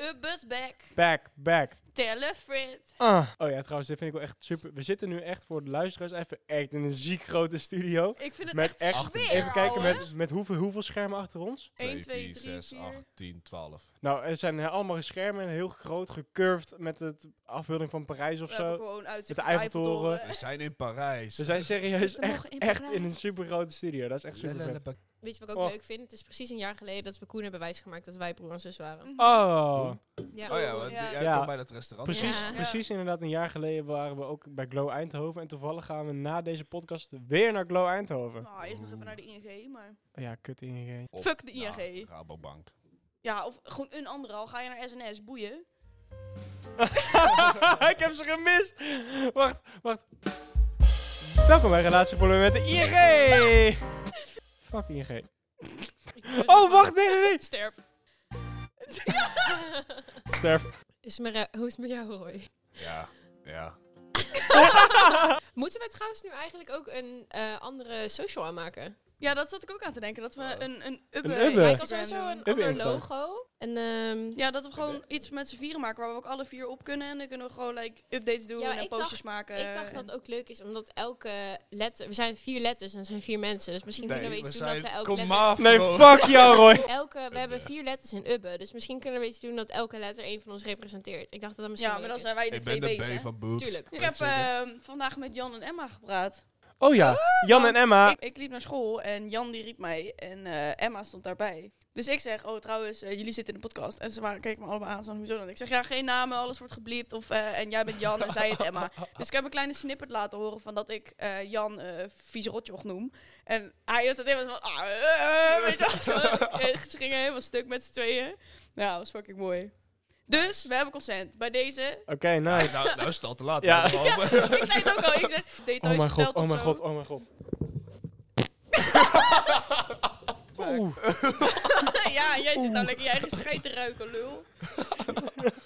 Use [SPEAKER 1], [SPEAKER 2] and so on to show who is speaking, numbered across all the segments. [SPEAKER 1] Ubbus back.
[SPEAKER 2] Back, back.
[SPEAKER 1] Tell a friend.
[SPEAKER 2] Ah. Oh ja, trouwens, dit vind ik wel echt super. We zitten nu echt voor de luisteraars even echt in een ziek grote studio.
[SPEAKER 1] Ik vind het
[SPEAKER 2] Met
[SPEAKER 1] echt
[SPEAKER 2] echt-
[SPEAKER 1] zwaar.
[SPEAKER 2] Even kijken met, met hoeveel, hoeveel schermen achter ons.
[SPEAKER 1] 1, 2,
[SPEAKER 3] 4,
[SPEAKER 1] 3,
[SPEAKER 3] 6,
[SPEAKER 1] 4.
[SPEAKER 3] 8, 10, 12.
[SPEAKER 2] Nou, er zijn eh, allemaal schermen, heel groot, gecurved met het afbeelding van Parijs of
[SPEAKER 1] We hebben
[SPEAKER 2] zo.
[SPEAKER 1] gewoon
[SPEAKER 2] Met
[SPEAKER 1] uitzicht
[SPEAKER 2] de
[SPEAKER 1] op de
[SPEAKER 2] Eiffeltoren.
[SPEAKER 1] Eiffeltoren.
[SPEAKER 3] We zijn in Parijs.
[SPEAKER 2] Ze zijn serieus
[SPEAKER 1] Is er nog
[SPEAKER 2] echt,
[SPEAKER 1] in
[SPEAKER 2] echt
[SPEAKER 1] Parijs?
[SPEAKER 2] in een super grote studio. Dat is echt super vet.
[SPEAKER 3] Lelelepak-
[SPEAKER 4] Weet je wat ik ook
[SPEAKER 1] Oh.
[SPEAKER 2] Och.
[SPEAKER 4] leuk vind? Het is precies een jaar geleden dat we Koen hebben wijsgemaakt dat wij broer en zus waren.
[SPEAKER 2] Oh,
[SPEAKER 4] Ja.
[SPEAKER 3] Oh ja, want
[SPEAKER 1] Ja.
[SPEAKER 3] jij
[SPEAKER 2] Ja.
[SPEAKER 3] komt bij dat restaurant.
[SPEAKER 2] precies,
[SPEAKER 4] Ja.
[SPEAKER 2] precies inderdaad. Een jaar geleden waren we ook bij Glow Eindhoven. En toevallig gaan we na deze podcast weer naar Glow Eindhoven.
[SPEAKER 1] Nou, eerst nog even naar de ING, maar...
[SPEAKER 2] Ja, kut ING.
[SPEAKER 3] Of
[SPEAKER 1] Fuck de
[SPEAKER 3] naar
[SPEAKER 1] ING.
[SPEAKER 3] Nou, Rabobank.
[SPEAKER 1] Ja, of gewoon een andere al. Ga je naar SNS, boeien.
[SPEAKER 2] ik heb ze gemist. Wacht, wacht. Welkom bij Relatieproblemen met de ING. Fuck ING. Oh, wacht, nee, nee, nee.
[SPEAKER 1] Sterp.
[SPEAKER 2] Sterf.
[SPEAKER 4] Is het met jou- hoe is het met jou, Roy?
[SPEAKER 3] Ja, ja.
[SPEAKER 4] Moeten we trouwens nu eigenlijk ook een eh, andere social aanmaken?
[SPEAKER 1] Ja, dat zat ik ook aan te denken. Dat we
[SPEAKER 3] Oh.
[SPEAKER 1] een, een
[SPEAKER 2] Een Ubbe.
[SPEAKER 1] Ubbe
[SPEAKER 4] Maar
[SPEAKER 2] Eh,
[SPEAKER 4] ik had sowieso een
[SPEAKER 2] Heb je
[SPEAKER 4] ander
[SPEAKER 2] Insta?
[SPEAKER 4] logo. En, ehm, ja,
[SPEAKER 1] Ja, dat we gewoon iets met z'n vieren maken waar we ook alle vier op kunnen. En dan kunnen we gewoon like, updates doen
[SPEAKER 4] Ja, maar
[SPEAKER 1] en
[SPEAKER 4] ik
[SPEAKER 1] posters
[SPEAKER 4] dacht-
[SPEAKER 1] maken.
[SPEAKER 4] ik dacht dat het ook leuk is, omdat elke letter... We zijn vier letters en er zijn vier mensen. Dus misschien kunnen we iets doen dat we elke
[SPEAKER 3] Kom
[SPEAKER 4] letter...
[SPEAKER 3] af,
[SPEAKER 2] Nee,
[SPEAKER 1] Oh.
[SPEAKER 3] bro.
[SPEAKER 2] fuck jou, Roy.
[SPEAKER 4] Elke, we hebben vier letters in Ubbe, dus misschien kunnen we iets doen dat elke letter één van ons representeert. Ik dacht dat dat misschien
[SPEAKER 1] Ja,
[SPEAKER 4] wel
[SPEAKER 1] maar dan zijn
[SPEAKER 4] leuk
[SPEAKER 1] wij de
[SPEAKER 3] Ik
[SPEAKER 1] twee
[SPEAKER 3] ben de
[SPEAKER 1] bezig.
[SPEAKER 3] B van Boobs.
[SPEAKER 4] Tuurlijk.
[SPEAKER 1] Ik
[SPEAKER 3] Kan
[SPEAKER 1] heb
[SPEAKER 3] ik zeggen?
[SPEAKER 1] ehm, vandaag met Jan en Emma gepraat.
[SPEAKER 2] Oh ja, Jan en
[SPEAKER 1] Want
[SPEAKER 2] Emma.
[SPEAKER 1] Ik, ik liep naar school en Jan die riep mij en eh, Emma stond daarbij. Dus ik zeg, oh trouwens, eh, jullie zitten in de podcast. En ze waren, keken me allemaal aan, zo, hoezo dan? Ik zeg, ja, geen namen, alles wordt gebliept. Of, eh, en jij bent Jan en zij het Emma. Dus ik heb een kleine snippet laten horen van dat ik eh, Jan eh vies rotjoch noem. En hij was het helemaal zo van, ah, eh, eh, weet je wel. zo. Eh, Ze gingen helemaal stuk met z'n tweeën. Nou, dat was fucking mooi. Dus, we hebben consent. Bij deze...
[SPEAKER 2] Oké, nice.
[SPEAKER 3] Nou, nou is het al te laat.
[SPEAKER 2] Ja.
[SPEAKER 3] hè, bro.
[SPEAKER 1] Ik zei het ook al, ik zeg, details
[SPEAKER 2] Oh mijn god,
[SPEAKER 1] verteld
[SPEAKER 2] oh
[SPEAKER 1] of
[SPEAKER 2] mijn
[SPEAKER 1] zo.
[SPEAKER 2] god, oh mijn god. Oeh.
[SPEAKER 1] ja, jij zit nou lekker je eigen scheid te ruiken, lul.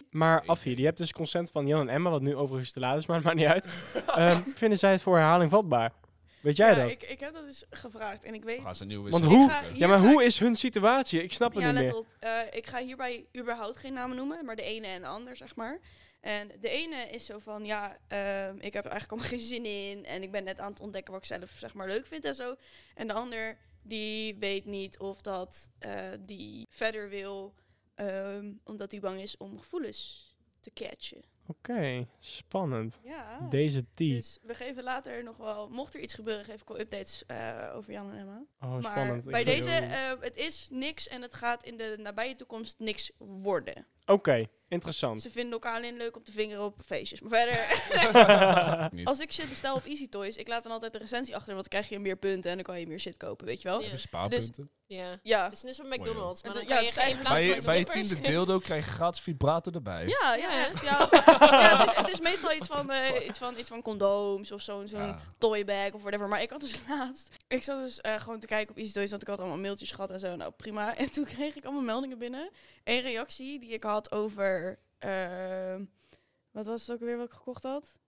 [SPEAKER 2] Maar Affie, die hebt dus consent van Jan en Emma, wat nu overigens te laat is, maar het maakt niet uit. Ehm, vinden zij het voor herhaling vatbaar? Weet jij
[SPEAKER 1] ja,
[SPEAKER 2] dat?
[SPEAKER 1] Ik, ik heb dat eens gevraagd en ik weet...
[SPEAKER 3] We gaan ze een nieuwe
[SPEAKER 2] Want
[SPEAKER 3] serie
[SPEAKER 2] hoe-
[SPEAKER 3] zoeken.
[SPEAKER 1] hier
[SPEAKER 2] Ja, maar
[SPEAKER 1] ga
[SPEAKER 2] hoe is hun situatie? Ik snap het
[SPEAKER 1] Ja,
[SPEAKER 2] niet
[SPEAKER 1] let
[SPEAKER 2] meer.
[SPEAKER 1] op. Eh, ik ga hierbij überhaupt geen namen noemen, maar de ene en de ander, zeg maar. En de ene is zo van, ja, ehm, ik heb er eigenlijk allemaal geen zin in en ik ben net aan het ontdekken wat ik zelf, zeg maar, leuk vind en zo. En de ander, die weet niet of dat eh, die verder wil, ehm, omdat hij bang is om gevoelens te catchen.
[SPEAKER 2] Oké, spannend.
[SPEAKER 1] Ja.
[SPEAKER 2] Deze T.
[SPEAKER 1] Dus we geven later nog wel, mocht er iets gebeuren, geef ik wel updates eh, over Jan en Emma.
[SPEAKER 2] Oh,
[SPEAKER 1] maar
[SPEAKER 2] spannend. Ik
[SPEAKER 1] bij
[SPEAKER 2] vind-
[SPEAKER 1] deze, eh, het is niks en het gaat in de nabije toekomst niks worden.
[SPEAKER 2] Oké, interessant.
[SPEAKER 1] Ze vinden elkaar alleen leuk om te vingeren op feestjes. Maar verder,
[SPEAKER 3] Niet.
[SPEAKER 1] als ik shit bestel op Easy Toys, ik laat dan altijd de recensie achter, want dan krijg je meer punten en dan kan je meer shit kopen, weet je wel?
[SPEAKER 4] Ja.
[SPEAKER 1] Ja.
[SPEAKER 3] Hebben spaarpunten.
[SPEAKER 4] Ja.
[SPEAKER 1] Ja,
[SPEAKER 4] Het is net zoals McDonald's, maar
[SPEAKER 1] Ja,
[SPEAKER 4] dan kan
[SPEAKER 1] het
[SPEAKER 4] je
[SPEAKER 1] is
[SPEAKER 4] geen
[SPEAKER 1] eigenlijk-
[SPEAKER 4] plaats
[SPEAKER 3] Bij,
[SPEAKER 4] van
[SPEAKER 3] je- bij je
[SPEAKER 4] slippers.
[SPEAKER 3] tiende dildo krijg je gratis vibrator erbij.
[SPEAKER 1] ja,
[SPEAKER 4] Ja.
[SPEAKER 1] echt. Ja, ja, het, is, het is meestal iets van, eh, iets van, iets van condooms of zo'n zo'n
[SPEAKER 3] Ja.
[SPEAKER 1] toybag of whatever. Maar ik had dus laatst. Ik zat dus eh, gewoon te kijken op EasyToys, want ik had allemaal mailtjes gehad en zo. Nou, prima. En toen kreeg ik allemaal meldingen binnen. Eén reactie die ik had over. ehm, wat was het ook weer wat ik gekocht had?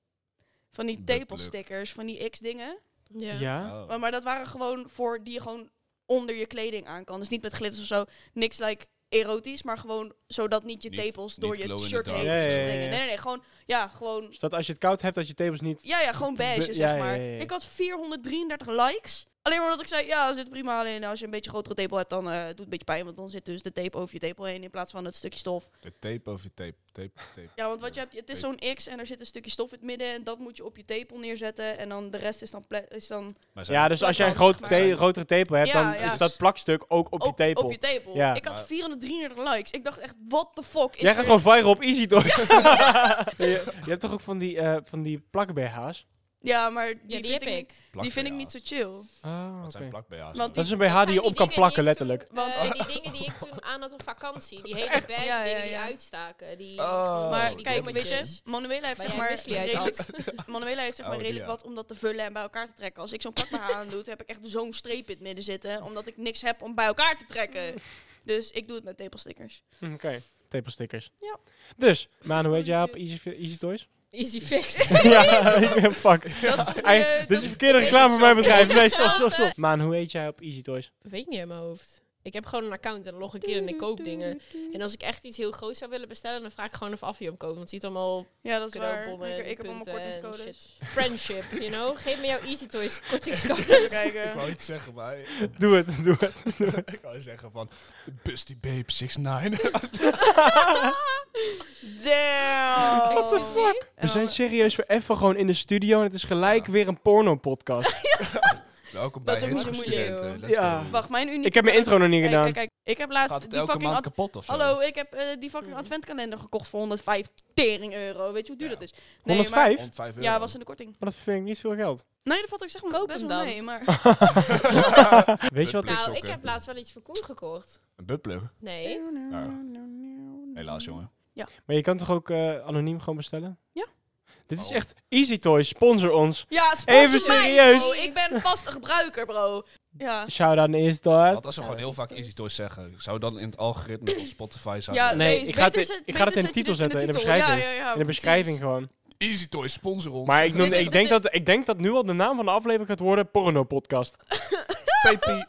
[SPEAKER 1] Van die
[SPEAKER 3] Buttplug.
[SPEAKER 1] tepelstickers, van die X-dingen.
[SPEAKER 4] Ja.
[SPEAKER 2] Ja?
[SPEAKER 3] Oh.
[SPEAKER 1] Maar, maar dat waren gewoon voor die je gewoon onder je kleding aan kan. Dus niet met glitters of zo. Niks like erotisch, maar gewoon zodat niet je
[SPEAKER 3] Niet-
[SPEAKER 1] tepels
[SPEAKER 3] niet
[SPEAKER 1] door
[SPEAKER 3] glow in
[SPEAKER 1] je
[SPEAKER 3] the
[SPEAKER 1] shirt
[SPEAKER 3] dark
[SPEAKER 1] heen
[SPEAKER 3] of zo.
[SPEAKER 1] springen.
[SPEAKER 2] Ja, ja, ja, ja.
[SPEAKER 1] Nee, nee, nee. Gewoon, ja, gewoon
[SPEAKER 2] Dus dat als je het koud hebt, dat je tepels niet...
[SPEAKER 1] ja, ja, gewoon beige,
[SPEAKER 2] Be-
[SPEAKER 1] zeg
[SPEAKER 2] ja, ja,
[SPEAKER 1] maar.
[SPEAKER 2] ja, ja.
[SPEAKER 1] Ik had 433 likes. Alleen maar omdat ik zei, ja, er zit prima alleen. Als je een beetje grotere tepel hebt, dan eh, doet het een beetje pijn. Want dan zit dus de tape over je tepel heen in plaats van het stukje stof.
[SPEAKER 3] De tape over tape, tape, tape.
[SPEAKER 1] Ja, want wat je hebt, het is zo'n X en er zit een stukje stof in het midden. En dat moet je op je tepel neerzetten. En dan de rest is dan... pla- Is dan
[SPEAKER 3] Maar zijn-
[SPEAKER 2] Ja, dus als jij een
[SPEAKER 1] Plakband,
[SPEAKER 2] grote
[SPEAKER 1] zeg
[SPEAKER 2] te-
[SPEAKER 1] maar.
[SPEAKER 2] grotere tepel hebt,
[SPEAKER 1] Ja,
[SPEAKER 2] dan
[SPEAKER 1] ja. Dus
[SPEAKER 2] is dat plakstuk ook op je
[SPEAKER 1] op,
[SPEAKER 2] tepel.
[SPEAKER 1] op je tepel.
[SPEAKER 2] Ja.
[SPEAKER 1] Ik had
[SPEAKER 3] Maar-
[SPEAKER 1] 433 likes. Ik dacht echt, what the fuck is
[SPEAKER 2] Jij gaat
[SPEAKER 1] er-
[SPEAKER 2] gewoon viral op Easy door. je, je hebt toch ook van die, eh, van die plak-BH's?
[SPEAKER 1] Ja, maar die,
[SPEAKER 4] die
[SPEAKER 1] vind
[SPEAKER 4] heb
[SPEAKER 1] ik niet-
[SPEAKER 4] ik. Oh,
[SPEAKER 1] Die vind ik niet zo
[SPEAKER 3] Plak-BH's.
[SPEAKER 1] chill.
[SPEAKER 2] Ah,
[SPEAKER 3] Wat
[SPEAKER 2] oké.
[SPEAKER 3] zijn plak-BH's?
[SPEAKER 1] Want
[SPEAKER 2] Dat is een
[SPEAKER 4] Dat
[SPEAKER 2] BH die
[SPEAKER 4] zijn
[SPEAKER 2] je op
[SPEAKER 4] die
[SPEAKER 2] kan
[SPEAKER 4] dingen die
[SPEAKER 2] plakken,
[SPEAKER 4] ik toen-
[SPEAKER 2] letterlijk.
[SPEAKER 1] letterlijk.
[SPEAKER 4] eh, die dingen die ik toen aan had op vakantie. Die hele bag
[SPEAKER 1] Ja, ja,
[SPEAKER 4] dingen die
[SPEAKER 1] ja.
[SPEAKER 4] uitstaken. Die,
[SPEAKER 3] Oh.
[SPEAKER 1] maar
[SPEAKER 4] die
[SPEAKER 1] kijk, weet
[SPEAKER 4] gommetjes.
[SPEAKER 1] je, Manuela heeft
[SPEAKER 4] Waar
[SPEAKER 1] zeg
[SPEAKER 4] jij
[SPEAKER 1] maar
[SPEAKER 4] muesli uit
[SPEAKER 1] redelijk-
[SPEAKER 4] had.
[SPEAKER 1] Manuela heeft zeg maar
[SPEAKER 3] Oh, die,
[SPEAKER 1] redelijk
[SPEAKER 3] ja.
[SPEAKER 1] wat om dat te vullen en bij elkaar te trekken. Als ik zo'n pak maar aan doe, heb ik echt zo'n streep in het midden zitten. Omdat ik niks heb om bij elkaar te trekken. Dus ik doe het met tepelstickers.
[SPEAKER 2] Oké, tepelstickers.
[SPEAKER 1] Mm, Ja.
[SPEAKER 2] Dus, Manu, hoe heet jij op Easy, Easy Toys?
[SPEAKER 4] Easy fix.
[SPEAKER 2] ja, ik ben- fuck.
[SPEAKER 1] Dat is
[SPEAKER 2] Ei, dit is verkeerde reclame voor mijn bedrijf. Nee, stop, stop,
[SPEAKER 4] hetzelfde.
[SPEAKER 2] stop. Maan, hoe heet jij op Easy Toys?
[SPEAKER 4] Weet ik niet in mijn hoofd. Ik heb gewoon een account en dan log ik in en ik koop dingen. En als ik echt iets heel groots zou willen bestellen, dan vraag ik gewoon of Affie hem koopt. Want het ziet allemaal
[SPEAKER 1] Ja, dat is waar.
[SPEAKER 4] cadeaubonnen
[SPEAKER 1] Ik,
[SPEAKER 4] en
[SPEAKER 1] ik heb allemaal
[SPEAKER 4] punten en
[SPEAKER 1] kortingscodes.
[SPEAKER 4] shit. Friendship, you know? Geef me jouw Easy Toys
[SPEAKER 1] Even
[SPEAKER 4] kortingscodes.
[SPEAKER 2] eh.
[SPEAKER 3] Ik
[SPEAKER 1] kijken.
[SPEAKER 3] wou iets zeggen, maar
[SPEAKER 2] Doe het, doe het.
[SPEAKER 3] ik wou zeggen van... Busty Babe 69.
[SPEAKER 1] Damn!
[SPEAKER 4] What the fuck?
[SPEAKER 2] We zijn serieus voor even gewoon in de studio en het is gelijk
[SPEAKER 3] Ja.
[SPEAKER 2] weer een porno-podcast.
[SPEAKER 3] Welkom
[SPEAKER 1] Dat
[SPEAKER 3] bij
[SPEAKER 1] is ook
[SPEAKER 3] Hensel
[SPEAKER 1] niet moeilijk,
[SPEAKER 3] Studenten.
[SPEAKER 4] joh.
[SPEAKER 3] Let's
[SPEAKER 2] Ja.
[SPEAKER 3] go.
[SPEAKER 1] Wacht, mijn unieke...
[SPEAKER 2] Ik heb mijn intro nog niet
[SPEAKER 1] Kijk,
[SPEAKER 2] gedaan.
[SPEAKER 1] kijk, kijk. Ik heb
[SPEAKER 3] Gaat
[SPEAKER 1] laatst
[SPEAKER 3] het
[SPEAKER 1] die
[SPEAKER 3] elke
[SPEAKER 1] fucking...
[SPEAKER 3] maand
[SPEAKER 1] ad-
[SPEAKER 3] kapot of zo?
[SPEAKER 1] Hallo, ik heb eh, die fucking
[SPEAKER 2] Hm.
[SPEAKER 4] Mhm.
[SPEAKER 1] adventkalender gekocht voor 105 tering euro. Weet je hoe duur
[SPEAKER 3] Ja.
[SPEAKER 1] dat is? Nee, maar-
[SPEAKER 2] 105?
[SPEAKER 3] 105 euro.
[SPEAKER 1] Ja, was in de korting.
[SPEAKER 2] Maar dat vind ik niet veel geld.
[SPEAKER 1] Nee, dat valt ook zeg maar
[SPEAKER 4] Koop
[SPEAKER 1] best
[SPEAKER 4] hem
[SPEAKER 1] wel
[SPEAKER 4] dan.
[SPEAKER 1] mee, maar...
[SPEAKER 2] Weet je wat?
[SPEAKER 4] Nou, ik
[SPEAKER 3] Sokken.
[SPEAKER 4] heb laatst wel iets voor Koen gekocht.
[SPEAKER 3] Een buttplug.
[SPEAKER 4] Nee.
[SPEAKER 3] Helaas, jongen.
[SPEAKER 2] Maar je kan toch ook eh, anoniem gewoon bestellen?
[SPEAKER 1] Ja.
[SPEAKER 2] Dit is
[SPEAKER 3] Oh.
[SPEAKER 2] echt Easy Toys, sponsor ons.
[SPEAKER 1] Ja, sponsor
[SPEAKER 2] Even
[SPEAKER 1] mij,
[SPEAKER 2] serieus.
[SPEAKER 1] bro. Ik ben vaste gebruiker, bro. Ja. Oh,
[SPEAKER 2] Shout out naar Easy Toys.
[SPEAKER 3] Want als ze gewoon heel vaak Easy Toys zeggen, zou dan in het algoritme van Spotify zijn.
[SPEAKER 1] ja
[SPEAKER 2] Nee,
[SPEAKER 1] is
[SPEAKER 2] ik ga het
[SPEAKER 1] beter
[SPEAKER 2] in-
[SPEAKER 1] zet-
[SPEAKER 2] ik ga
[SPEAKER 1] beter
[SPEAKER 2] het in de
[SPEAKER 1] zet je
[SPEAKER 2] titel zetten, in de
[SPEAKER 1] titel. Ja,
[SPEAKER 2] beschrijving.
[SPEAKER 1] ja, ja,
[SPEAKER 2] In de
[SPEAKER 1] precies.
[SPEAKER 2] beschrijving gewoon.
[SPEAKER 3] Easy Toys, sponsor ons.
[SPEAKER 2] Maar ik, noem,
[SPEAKER 1] Nee, nee,
[SPEAKER 2] ik, denk dat, ik denk dat nu al de naam van de aflevering gaat worden Porno-podcast.
[SPEAKER 3] Pepe.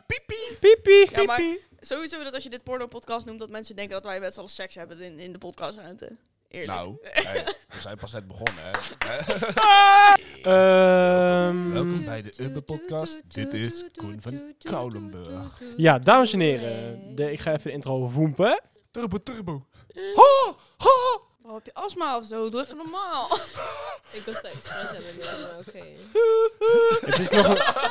[SPEAKER 2] Piepie,
[SPEAKER 1] Ja, maar-
[SPEAKER 2] piepie.
[SPEAKER 1] Sowieso dat als je dit porno-podcast noemt, dat mensen denken dat wij met z'n allen seks hebben in, in de podcastruimte. Eerlijk.
[SPEAKER 3] Nou, hey, we zijn pas net begonnen, hè.
[SPEAKER 2] Ehm,
[SPEAKER 3] Welkom bij de Ubbe Podcast. Dit is Koen van Kouwenburg.
[SPEAKER 2] ja, dames en heren. De, ik ga even de intro voempen.
[SPEAKER 3] Turbo, turbo.
[SPEAKER 1] Eh. Waarom heb je astma of zo? Doe even normaal.
[SPEAKER 4] Ik was daar expres hebben, ja, maar oké.
[SPEAKER 2] Het is, nog,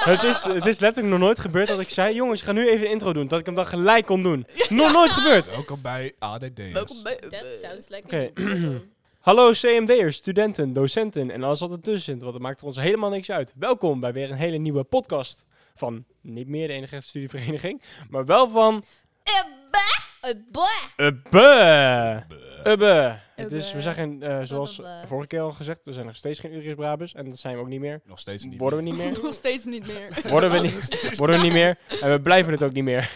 [SPEAKER 2] het, is, het is letterlijk nog nooit gebeurd dat ik zei... Jongens, ga nu even de intro doen. Dat ik hem dan gelijk kon doen. Nog nooit gebeurd.
[SPEAKER 3] Welkom bij ADD.
[SPEAKER 1] Welkom bij
[SPEAKER 4] That
[SPEAKER 1] Ubbe.
[SPEAKER 4] sounds like
[SPEAKER 2] Oké.
[SPEAKER 4] a good plan.
[SPEAKER 2] Hallo CMD'ers, studenten, docenten en alles wat ertussen zit. Want het maakt er ons helemaal niks uit. Welkom bij weer een hele nieuwe podcast van... Niet meer de enige studievereniging, maar wel van...
[SPEAKER 4] Eh, boah.
[SPEAKER 2] Ubbe. Ubbe. Het is, we
[SPEAKER 4] Ubbe.
[SPEAKER 2] zijn, geen, eh, zoals
[SPEAKER 4] Ubbe.
[SPEAKER 2] vorige keer al gezegd, we zijn nog steeds geen Urius Brabus. En dat zijn we ook niet meer.
[SPEAKER 3] Nog steeds niet.
[SPEAKER 2] Worden we niet meer.
[SPEAKER 1] Nog steeds niet meer.
[SPEAKER 2] Worden we niet, worden we niet meer. En we blijven het ook niet meer.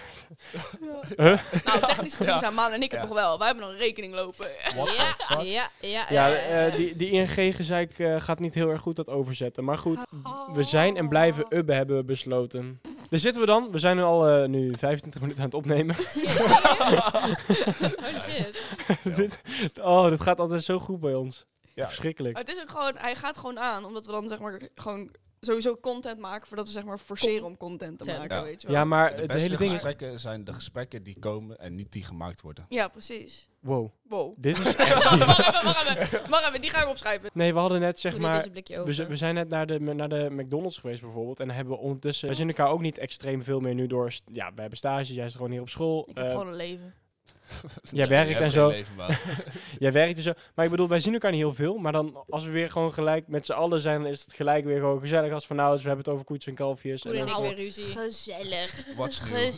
[SPEAKER 1] nou, technisch gezien zijn Maan en ik het
[SPEAKER 3] Ja.
[SPEAKER 1] nog wel. Wij hebben nog een rekening lopen.
[SPEAKER 3] What the
[SPEAKER 4] Ja,
[SPEAKER 3] fuck?
[SPEAKER 4] ja, ja.
[SPEAKER 2] Ja,
[SPEAKER 4] ja, ja.
[SPEAKER 2] eh, die, die ING-gezeik eh, gaat niet heel erg goed dat overzetten. Maar goed,
[SPEAKER 1] Oh.
[SPEAKER 2] we zijn en blijven Ubbe hebben we besloten. Daar zitten we dan. We zijn nu al eh, nu 25 minuten aan het opnemen.
[SPEAKER 4] Holy Oh, shit.
[SPEAKER 2] dit, oh, dit gaat altijd zo goed bij ons.
[SPEAKER 3] Ja.
[SPEAKER 2] Verschrikkelijk.
[SPEAKER 1] Maar het is ook gewoon, hij gaat gewoon aan, omdat we dan zeg maar gewoon sowieso content maken voordat we zeg maar forceren om content te
[SPEAKER 4] Content.
[SPEAKER 1] maken,
[SPEAKER 3] Ja.
[SPEAKER 1] weet je wel.
[SPEAKER 2] Ja, maar
[SPEAKER 3] De
[SPEAKER 2] het
[SPEAKER 3] beste
[SPEAKER 2] hele ding is...
[SPEAKER 3] gesprekken zijn de gesprekken die komen en niet die gemaakt worden.
[SPEAKER 1] Ja, precies.
[SPEAKER 2] Wow,
[SPEAKER 1] Wow.
[SPEAKER 2] dit is...
[SPEAKER 1] Wacht even, wacht even. Wacht even, die ga ik opschrijven.
[SPEAKER 2] Nee, we hadden net zeg
[SPEAKER 4] Doe maar,
[SPEAKER 2] maar...
[SPEAKER 4] deze blikje
[SPEAKER 2] We,
[SPEAKER 4] open.
[SPEAKER 2] z- we zijn net naar de, naar de McDonald's geweest bijvoorbeeld. En hebben we ondertussen... We zien elkaar ook niet extreem veel meer nu door... st- Ja, we hebben stages. Jij is gewoon hier op school.
[SPEAKER 1] Ik heb
[SPEAKER 2] eh,
[SPEAKER 1] gewoon een leven.
[SPEAKER 2] jij
[SPEAKER 3] Je
[SPEAKER 2] werkt
[SPEAKER 3] hebt
[SPEAKER 2] en
[SPEAKER 3] geen
[SPEAKER 2] zo.
[SPEAKER 3] leven, maar-
[SPEAKER 2] Jij werkt en zo. Maar ik bedoel, wij zien elkaar niet heel veel. Maar dan als we weer gewoon gelijk met z'n allen zijn... dan is het gelijk weer gewoon gezellig als van nou is. We hebben het over koets en kalfjes.
[SPEAKER 4] Koen en
[SPEAKER 2] dan-
[SPEAKER 4] ik weer ruzie.
[SPEAKER 1] Gezellig.
[SPEAKER 3] What's new?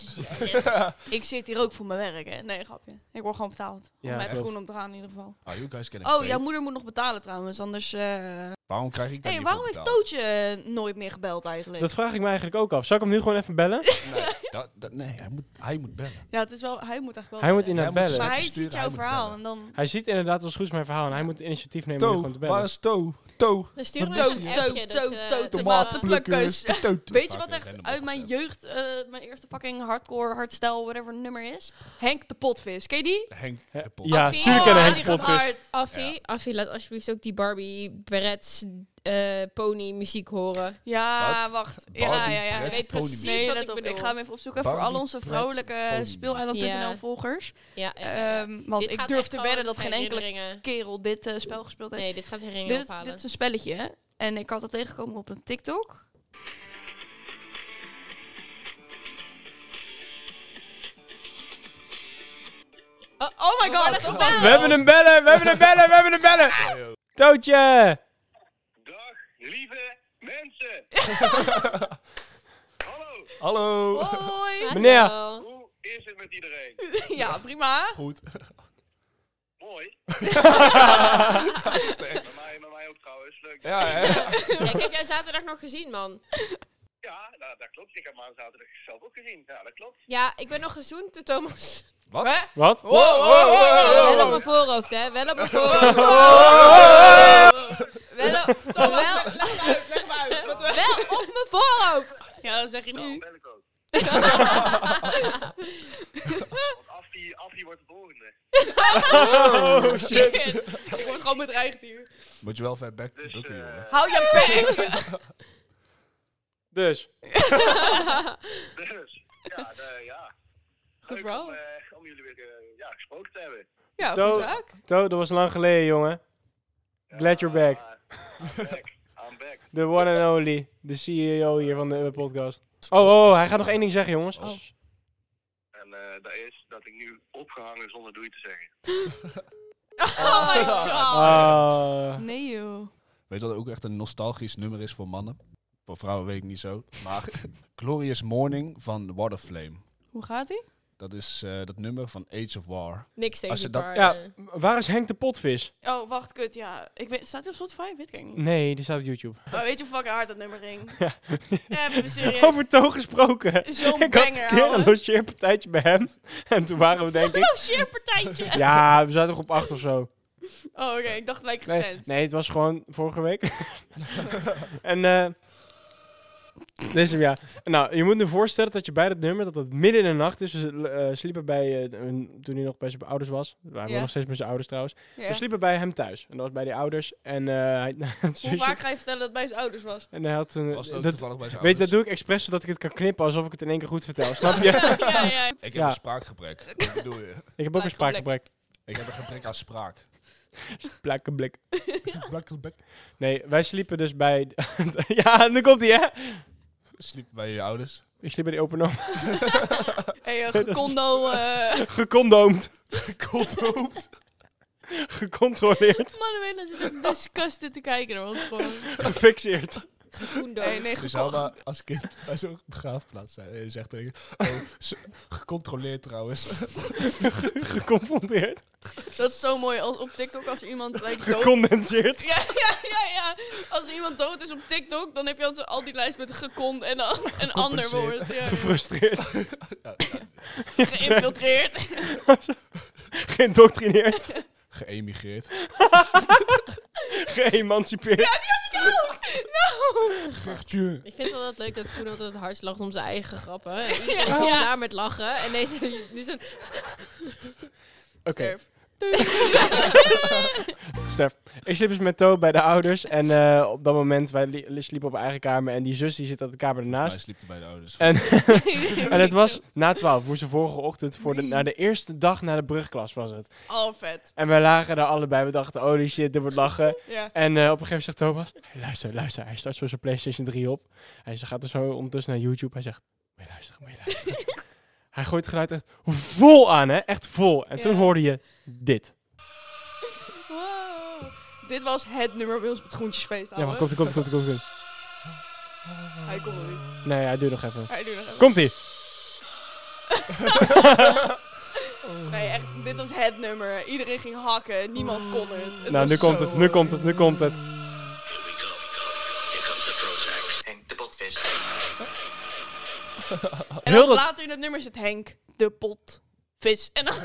[SPEAKER 1] Ik zit hier ook voor mijn werk, hè? Nee, grapje. Ik word gewoon betaald.
[SPEAKER 2] Ja,
[SPEAKER 1] Ja, met
[SPEAKER 2] klopt.
[SPEAKER 1] groen om te gaan in ieder geval.
[SPEAKER 3] Are Ah, you guys getting
[SPEAKER 1] Oh,
[SPEAKER 3] paid?
[SPEAKER 1] jouw moeder moet nog betalen trouwens, anders... eh
[SPEAKER 3] Waarom krijg ik dat
[SPEAKER 1] hey,
[SPEAKER 3] niet
[SPEAKER 1] waarom
[SPEAKER 3] voor
[SPEAKER 1] heeft
[SPEAKER 3] betaald?
[SPEAKER 1] Tootje eh, nooit meer gebeld eigenlijk?
[SPEAKER 2] Dat vraag ik me eigenlijk ook af. Zal ik hem nu gewoon even bellen?
[SPEAKER 3] Nee, dat, dat, nee hij, moet, hij moet bellen.
[SPEAKER 1] Ja, het is wel... Hij moet echt wel...
[SPEAKER 2] Hij moet
[SPEAKER 1] bellen.
[SPEAKER 2] inderdaad
[SPEAKER 3] Jij moet
[SPEAKER 2] bellen.
[SPEAKER 1] Maar hij
[SPEAKER 3] Sturen,
[SPEAKER 1] ziet
[SPEAKER 3] hij
[SPEAKER 1] jouw
[SPEAKER 3] moet
[SPEAKER 1] verhaal
[SPEAKER 3] bellen.
[SPEAKER 1] en dan...
[SPEAKER 2] Hij ziet inderdaad als goed mijn verhaal. En hij moet het initiatief nemen om gewoon te bellen.
[SPEAKER 3] is To? To.
[SPEAKER 4] Dan sturen we
[SPEAKER 3] Wat
[SPEAKER 4] eens
[SPEAKER 3] is
[SPEAKER 4] een
[SPEAKER 1] je?
[SPEAKER 4] appje dat...
[SPEAKER 1] Toot,
[SPEAKER 4] eh,
[SPEAKER 1] toot,
[SPEAKER 4] dat we-
[SPEAKER 1] Tomatenplukkers. Weet je
[SPEAKER 3] Fucking
[SPEAKER 1] wat echt
[SPEAKER 3] random
[SPEAKER 1] uit mijn
[SPEAKER 3] opgezet.
[SPEAKER 1] jeugd, eh, mijn eerste fucking hardcore, hardstyle, whatever nummer is? Henk de Potvis. Ken je die?
[SPEAKER 3] Henk
[SPEAKER 2] Hè?
[SPEAKER 3] de Pot.
[SPEAKER 2] Ja,
[SPEAKER 4] Affie.
[SPEAKER 2] tuurlijk
[SPEAKER 4] Oh,
[SPEAKER 2] kennen
[SPEAKER 1] die
[SPEAKER 2] Henk
[SPEAKER 1] gaat
[SPEAKER 2] Potvis.
[SPEAKER 1] hard.
[SPEAKER 4] Affie, Affie, laat alsjeblieft ook die Barbie Berets eh, pony muziek horen.
[SPEAKER 1] Ja,
[SPEAKER 3] Wat?
[SPEAKER 1] wacht. ja,
[SPEAKER 3] Barbie
[SPEAKER 1] ja, ja.
[SPEAKER 4] Ze
[SPEAKER 3] Bretts
[SPEAKER 4] weet
[SPEAKER 3] pony
[SPEAKER 4] precies
[SPEAKER 3] muziek.
[SPEAKER 1] Nee,
[SPEAKER 4] wat
[SPEAKER 1] let
[SPEAKER 4] ik
[SPEAKER 1] op.
[SPEAKER 4] bedoel.
[SPEAKER 1] Ik ga hem even opzoeken voor
[SPEAKER 3] Barbie
[SPEAKER 1] al onze
[SPEAKER 3] Bretts
[SPEAKER 1] vrouwelijke
[SPEAKER 3] pony.
[SPEAKER 4] Ja.
[SPEAKER 1] speeleiland.nl-volgers.
[SPEAKER 4] Ja, ja, ja.
[SPEAKER 1] Ehm, want
[SPEAKER 4] Dit
[SPEAKER 1] ik
[SPEAKER 4] gaat
[SPEAKER 1] durf
[SPEAKER 4] echt
[SPEAKER 1] te wedden
[SPEAKER 4] gewoon
[SPEAKER 1] dat geen enkele
[SPEAKER 4] herinneringen-
[SPEAKER 1] kerel dit eh, spel gespeeld heeft.
[SPEAKER 4] Nee, dit gaat herinneringen
[SPEAKER 1] dit, is,
[SPEAKER 4] ophalen.
[SPEAKER 1] dit is een spelletje, hè? En ik had het tegengekomen op een TikTok.
[SPEAKER 4] oh, oh my god,
[SPEAKER 1] Oh.
[SPEAKER 2] We hebben hem bellen, we hebben hem bellen, we hebben hem bellen. Tootje!
[SPEAKER 5] Dag, lieve mensen.
[SPEAKER 3] Hallo.
[SPEAKER 5] Hallo,
[SPEAKER 1] Oh. Hoi!
[SPEAKER 2] Meneer.
[SPEAKER 5] hoe is het met iedereen?
[SPEAKER 1] ja, prima.
[SPEAKER 3] Goed.
[SPEAKER 5] Mooi. met, mij, met mij ook trouwens, leuk. Ja,
[SPEAKER 3] Ja,
[SPEAKER 1] Oh,
[SPEAKER 3] hè?
[SPEAKER 4] Ja, ik heb jij zaterdag nog gezien, man.
[SPEAKER 5] nou, dat klopt. Ik heb hem zaterdag zelf ook gezien. Ja, dat klopt.
[SPEAKER 4] Ja, ik ben nog gezoend door Thomas.
[SPEAKER 3] Wat?
[SPEAKER 1] Hè?
[SPEAKER 2] Wat?
[SPEAKER 1] Wow, wow, wow, wow, wow.
[SPEAKER 4] Wel op mijn voorhoofd, hè? Wel op mijn voorhoofd. Wel op, wel, wel op mijn voorhoofd.
[SPEAKER 1] Ja, dat zeg je
[SPEAKER 5] Nou,
[SPEAKER 1] nu.
[SPEAKER 5] ben ik ook.
[SPEAKER 2] Oh, shit.
[SPEAKER 1] Shit. Ik word gewoon bedreigd hier.
[SPEAKER 3] Moet je wel ver back
[SPEAKER 5] Dus,
[SPEAKER 3] bukken,
[SPEAKER 5] eh,
[SPEAKER 3] jongen.
[SPEAKER 1] Hou je bek!
[SPEAKER 2] Dus,
[SPEAKER 5] Dus, ja, eh, ja.
[SPEAKER 1] Goed
[SPEAKER 5] Leuk
[SPEAKER 1] verhaal.
[SPEAKER 5] Om, eh, om jullie weer eh, ja, gesproken te hebben.
[SPEAKER 1] Ja,
[SPEAKER 2] Zo.
[SPEAKER 1] goed zaak.
[SPEAKER 2] To, dat was lang geleden, jongen. Glad you're back.
[SPEAKER 5] Ah, I'm back. I'm back.
[SPEAKER 2] De one and only. De CEO hier van de eh, podcast. Oh, oh, hij gaat nog één ding zeggen, jongens.
[SPEAKER 3] Oh.
[SPEAKER 5] En eh, dat is dat ik nu opgehangen zonder doei te zeggen.
[SPEAKER 1] Oh my god.
[SPEAKER 2] Ah.
[SPEAKER 1] Nee joh.
[SPEAKER 3] Weet je wat ook echt een nostalgisch nummer is voor mannen? Voor vrouwen weet ik niet zo. Maar Glorious Morning van Waterflame.
[SPEAKER 1] Hoe gaat ie?
[SPEAKER 3] Dat is eh, dat nummer van Age of War.
[SPEAKER 4] Niks tegen
[SPEAKER 3] Als je dat-
[SPEAKER 4] elkaar.
[SPEAKER 2] Ja,
[SPEAKER 4] eh.
[SPEAKER 2] waar is Henk de Potvis?
[SPEAKER 1] Oh, wacht, kut, ja. Ik weet, staat hij op Spotify? Weet ik eigenlijk niet.
[SPEAKER 2] Nee, die staat op YouTube.
[SPEAKER 1] Maar weet je hoe fucking hard dat nummer ging?
[SPEAKER 2] Ja.
[SPEAKER 1] Even serieus.
[SPEAKER 2] Over Toon gesproken.
[SPEAKER 1] Zo'n
[SPEAKER 2] Ik had een
[SPEAKER 1] banger,
[SPEAKER 2] keer een
[SPEAKER 1] ouwe.
[SPEAKER 2] logeerpartijtje bij hem. En toen waren we denk ik...
[SPEAKER 1] Logeerpartijtje.
[SPEAKER 2] Ja, we zaten toch op acht of zo.
[SPEAKER 1] Oh, oké. Ik dacht gelijk
[SPEAKER 2] Nee,
[SPEAKER 1] recent.
[SPEAKER 2] nee, het was gewoon vorige week. en eh dit is hem, ja. Nou, je moet nu voorstellen dat je bij dat nummer, dat het midden in de nacht is. We sl- eh, sliepen bij, eh, hun- toen hij nog bij zijn ouders was. We waren
[SPEAKER 1] Ja.
[SPEAKER 2] nog steeds bij zijn ouders trouwens.
[SPEAKER 1] Ja.
[SPEAKER 2] We sliepen bij hem thuis. En dat was bij die ouders. En eh, hij, het
[SPEAKER 1] Hoe
[SPEAKER 2] zusje-
[SPEAKER 1] vaak ga je vertellen dat het bij zijn ouders was?
[SPEAKER 2] En hij had een...
[SPEAKER 3] Was het ook
[SPEAKER 2] Eh, dat,
[SPEAKER 3] toevallig bij zijn
[SPEAKER 2] weet je, dat
[SPEAKER 3] ouders?
[SPEAKER 2] doe ik expres zodat ik het kan knippen alsof ik het in één keer goed vertel. Snap je?
[SPEAKER 1] ja, ja.
[SPEAKER 3] Ik heb
[SPEAKER 2] Ja.
[SPEAKER 3] een spraakgebrek. Wat bedoel je?
[SPEAKER 2] ik heb ook een spraakgebrek.
[SPEAKER 3] Ik heb een gebrek aan spraak.
[SPEAKER 2] Plakkenblik.
[SPEAKER 3] Blakkelbek.
[SPEAKER 2] Nee, wij sliepen dus bij... ja, nu komt hij, hè?
[SPEAKER 3] Sliep bij je ouders.
[SPEAKER 2] Ik sliep bij die open arm.
[SPEAKER 1] Hey, eh, gecondo... eh
[SPEAKER 2] Gecondoomd.
[SPEAKER 3] Kooldoofd.
[SPEAKER 2] Gecontroleerd.
[SPEAKER 1] Manuela zit in dus- disgusted te kijken naar ons gewoon.
[SPEAKER 2] Gefixeerd.
[SPEAKER 4] Koendo.
[SPEAKER 1] Nee, nee,
[SPEAKER 3] Dus
[SPEAKER 1] gecondo.
[SPEAKER 3] Alma, als kind bij zo'n begraafplaats zijn. En je zegt tegen je, oh, ze- gecontroleerd trouwens.
[SPEAKER 2] Geconfronteerd.
[SPEAKER 1] Dat is zo mooi als op TikTok als iemand lijkt dood.
[SPEAKER 2] Gecondenseerd.
[SPEAKER 1] Ja, ja, ja, ja. Als er iemand dood is op TikTok, dan heb je altijd al die lijst met gecon en dan een ander woord. Ja,
[SPEAKER 2] Gefrustreerd.
[SPEAKER 3] Ja, ja,
[SPEAKER 1] Geïnfiltreerd.
[SPEAKER 2] Geïndoctrineerd.
[SPEAKER 3] Geëmigreerd.
[SPEAKER 2] Geëmancipeerd.
[SPEAKER 1] Nou,
[SPEAKER 3] Gertje.
[SPEAKER 4] Ik vind het altijd leuk dat Koen altijd het hardst lacht om zijn eigen grappen. En Iedereen is
[SPEAKER 1] Ja.
[SPEAKER 4] gewoon klaar met lachen. En deze, dit is een...
[SPEAKER 2] Oké,
[SPEAKER 1] Sterf.
[SPEAKER 2] Stef. Ik sliep dus met Toon bij de ouders. En eh, op dat moment, wij li- sliepen op eigen kamer. En die zus die zit aan de kamer
[SPEAKER 3] Hij
[SPEAKER 2] ernaast.
[SPEAKER 3] sliep er bij de ouders.
[SPEAKER 2] En, en het was na twaalf, moesten vorige ochtend voor de, naar de eerste dag naar de brugklas was het.
[SPEAKER 1] Al vet.
[SPEAKER 2] En wij lagen daar allebei, we dachten, oh die shit, dit wordt lachen.
[SPEAKER 1] Ja.
[SPEAKER 2] En eh, op een gegeven moment zegt Thomas, "Hey, luister, luister, hij start zo zijn Playstation 3 op. Hij zegt- gaat er zo ondertussen naar YouTube, hij zegt, moet je luisteren, moet je luisteren. hij gooit het geluid echt vol aan, hè, echt vol. En toen
[SPEAKER 1] Ja.
[SPEAKER 2] hoorde je dit.
[SPEAKER 1] Wow. Dit was het nummer bij ons op het Groentjesfeest,
[SPEAKER 2] Ja, maar
[SPEAKER 1] ouwe.
[SPEAKER 2] komt, komt, komt, komt, komt.
[SPEAKER 1] Hij komt er niet.
[SPEAKER 2] Nee, hij duurt nog even.
[SPEAKER 1] Hij doet nog even.
[SPEAKER 2] Komt-ie.
[SPEAKER 1] Nee, echt, dit was het nummer. Iedereen ging hakken, niemand kon het. Het
[SPEAKER 2] Nou,
[SPEAKER 1] was
[SPEAKER 2] nu komt
[SPEAKER 1] zo
[SPEAKER 2] het, nu
[SPEAKER 1] mooi.
[SPEAKER 2] komt het, nu komt het.
[SPEAKER 6] Henk de Botvis.
[SPEAKER 1] En
[SPEAKER 2] Heel
[SPEAKER 1] dan
[SPEAKER 2] dat-
[SPEAKER 1] later in het nummer zit Henk, de pot, vis. En dan...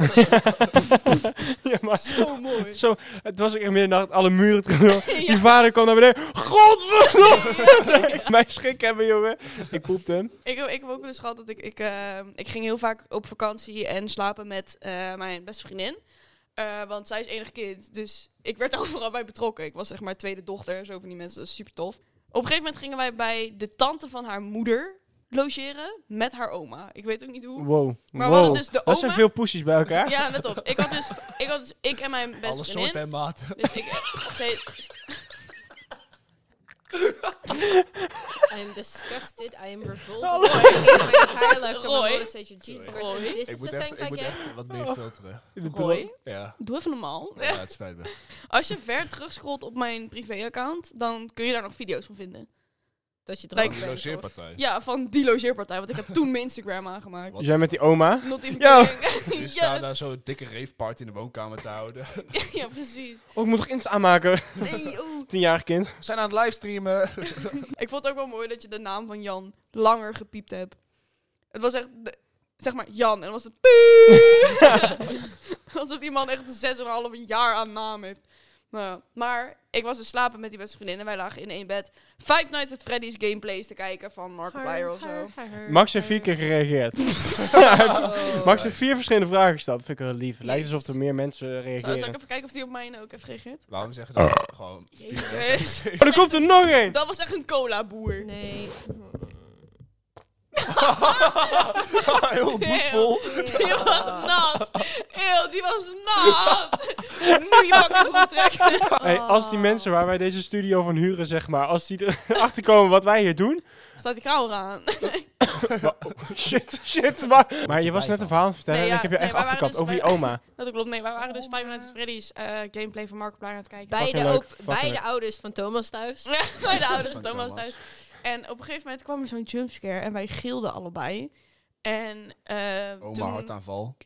[SPEAKER 2] ja, maar
[SPEAKER 1] Zo Oh, mooi.
[SPEAKER 2] Zo, het was ook echt middernacht, alle muren terug.
[SPEAKER 1] Ja.
[SPEAKER 2] Die vader kwam naar beneden. Godverdomme! Mijn schrik hebben, jongen. Ik poepte hem.
[SPEAKER 1] Ik heb, ik heb ook wel eens gehad dat ik... Ik, ehm, ik ging heel vaak op vakantie en slapen met eh, mijn beste vriendin. Eh, want zij is enig kind, dus ik werd overal bij betrokken. Ik was zeg maar tweede dochter, zo van die mensen, dat is super tof. Op een gegeven moment gingen wij bij de tante van haar moeder logeren met haar oma. Ik weet ook niet hoe.
[SPEAKER 2] Wow.
[SPEAKER 1] Maar we
[SPEAKER 2] wow.
[SPEAKER 1] hadden dus de
[SPEAKER 2] dat zijn
[SPEAKER 1] oma-
[SPEAKER 2] veel poesjes bij elkaar.
[SPEAKER 1] Ja, let op. Ik had dus ik, had dus, ik en mijn beste
[SPEAKER 3] Alle
[SPEAKER 1] vriendin.
[SPEAKER 3] soorten en maten.
[SPEAKER 1] Dus ik... Zij,
[SPEAKER 4] I am disgusted, I am revolted.
[SPEAKER 2] Hallo.
[SPEAKER 4] I gave my entire life to
[SPEAKER 1] Roy.
[SPEAKER 4] my mother, said you Jesus
[SPEAKER 3] Sorry.
[SPEAKER 4] Christ,
[SPEAKER 1] Roy.
[SPEAKER 3] Ik
[SPEAKER 4] this is
[SPEAKER 3] moet,
[SPEAKER 4] the
[SPEAKER 3] echt,
[SPEAKER 4] thanks
[SPEAKER 3] ik
[SPEAKER 4] I
[SPEAKER 3] moet
[SPEAKER 4] get.
[SPEAKER 3] echt wat
[SPEAKER 2] Oh.
[SPEAKER 3] meer filteren.
[SPEAKER 1] Roy,
[SPEAKER 3] Ja.
[SPEAKER 1] doe even normaal.
[SPEAKER 3] ja, het spijt me.
[SPEAKER 1] Als je ver terugscrollt op mijn privéaccount, dan kun je daar nog video's van vinden.
[SPEAKER 4] Dat je het
[SPEAKER 1] Lijkt
[SPEAKER 3] Van die
[SPEAKER 1] me
[SPEAKER 3] logeerpartij.
[SPEAKER 1] Ja, van die logeerpartij, want ik heb toen mijn Instagram aangemaakt.
[SPEAKER 3] Wat-
[SPEAKER 2] Dus jij met die oma.
[SPEAKER 1] Not even
[SPEAKER 2] Ja.
[SPEAKER 1] kidding.
[SPEAKER 3] Die
[SPEAKER 1] ja,
[SPEAKER 3] staan daar zo'n dikke raveparty in de woonkamer te houden.
[SPEAKER 1] ja, precies.
[SPEAKER 2] Oh, ik moet nog Insta aanmaken.
[SPEAKER 1] Nee, oeh.
[SPEAKER 2] Tienjarig kind.
[SPEAKER 3] We zijn aan het livestreamen.
[SPEAKER 1] Ik vond het ook wel mooi dat je de naam van Jan langer gepiept hebt. Het was echt, de- zeg maar, Jan. En dan was het piep. Alsof die man echt 6,5 jaar aan naam heeft. Nou, maar ik was dus slapen met die beste vriendin en wij lagen in één bed Five Nights at Freddy's gameplays te kijken van Markiplier of zo.
[SPEAKER 2] Max heeft vier keer gereageerd.
[SPEAKER 4] Oh.
[SPEAKER 2] Max heeft vier verschillende vragen gesteld. vind ik wel lief. Lijkt alsof er meer mensen
[SPEAKER 1] Zal, zal ik
[SPEAKER 2] reageren.
[SPEAKER 1] even kijken of die op mij ook heeft gereageerd?
[SPEAKER 3] Waarom zeggen dat
[SPEAKER 2] Ah.
[SPEAKER 3] gewoon...
[SPEAKER 1] Jezus.
[SPEAKER 2] Oh, er komt er nog één!
[SPEAKER 1] Dat was echt een cola boer.
[SPEAKER 4] Nee.
[SPEAKER 3] Heel
[SPEAKER 1] boekvol. Die was nat. Eeuw, die was nat. nu je bakken broek trekken.
[SPEAKER 2] Hey, als die mensen waar wij deze studio van huren, zeg maar, als die erachter komen wat wij hier doen.
[SPEAKER 1] Staat die kou aan?
[SPEAKER 2] Shit, shit, maar. Maar je was net
[SPEAKER 3] blijven.
[SPEAKER 2] een verhaal aan het vertellen
[SPEAKER 1] Nee,
[SPEAKER 2] en
[SPEAKER 1] ja,
[SPEAKER 2] ik heb je
[SPEAKER 1] nee,
[SPEAKER 2] echt
[SPEAKER 1] wij waren
[SPEAKER 2] afgekapt
[SPEAKER 1] dus
[SPEAKER 2] over die
[SPEAKER 1] bij-
[SPEAKER 2] oma.
[SPEAKER 1] Dat klopt. Nee, wij waren dus Five Nights at Freddy's eh, gameplay van Markiplier aan het kijken.
[SPEAKER 4] Beide,
[SPEAKER 2] leuk,
[SPEAKER 4] ook,
[SPEAKER 2] fucking
[SPEAKER 4] beide
[SPEAKER 2] leuk.
[SPEAKER 4] ouders van Thomas thuis.
[SPEAKER 1] bij de ouders van
[SPEAKER 3] Van
[SPEAKER 1] Thomas
[SPEAKER 3] Thomas.
[SPEAKER 1] thuis. En op een gegeven moment kwam er zo'n jumpscare en wij gilden allebei. En eh,
[SPEAKER 3] Oma
[SPEAKER 1] toen,
[SPEAKER 3] hartaanval.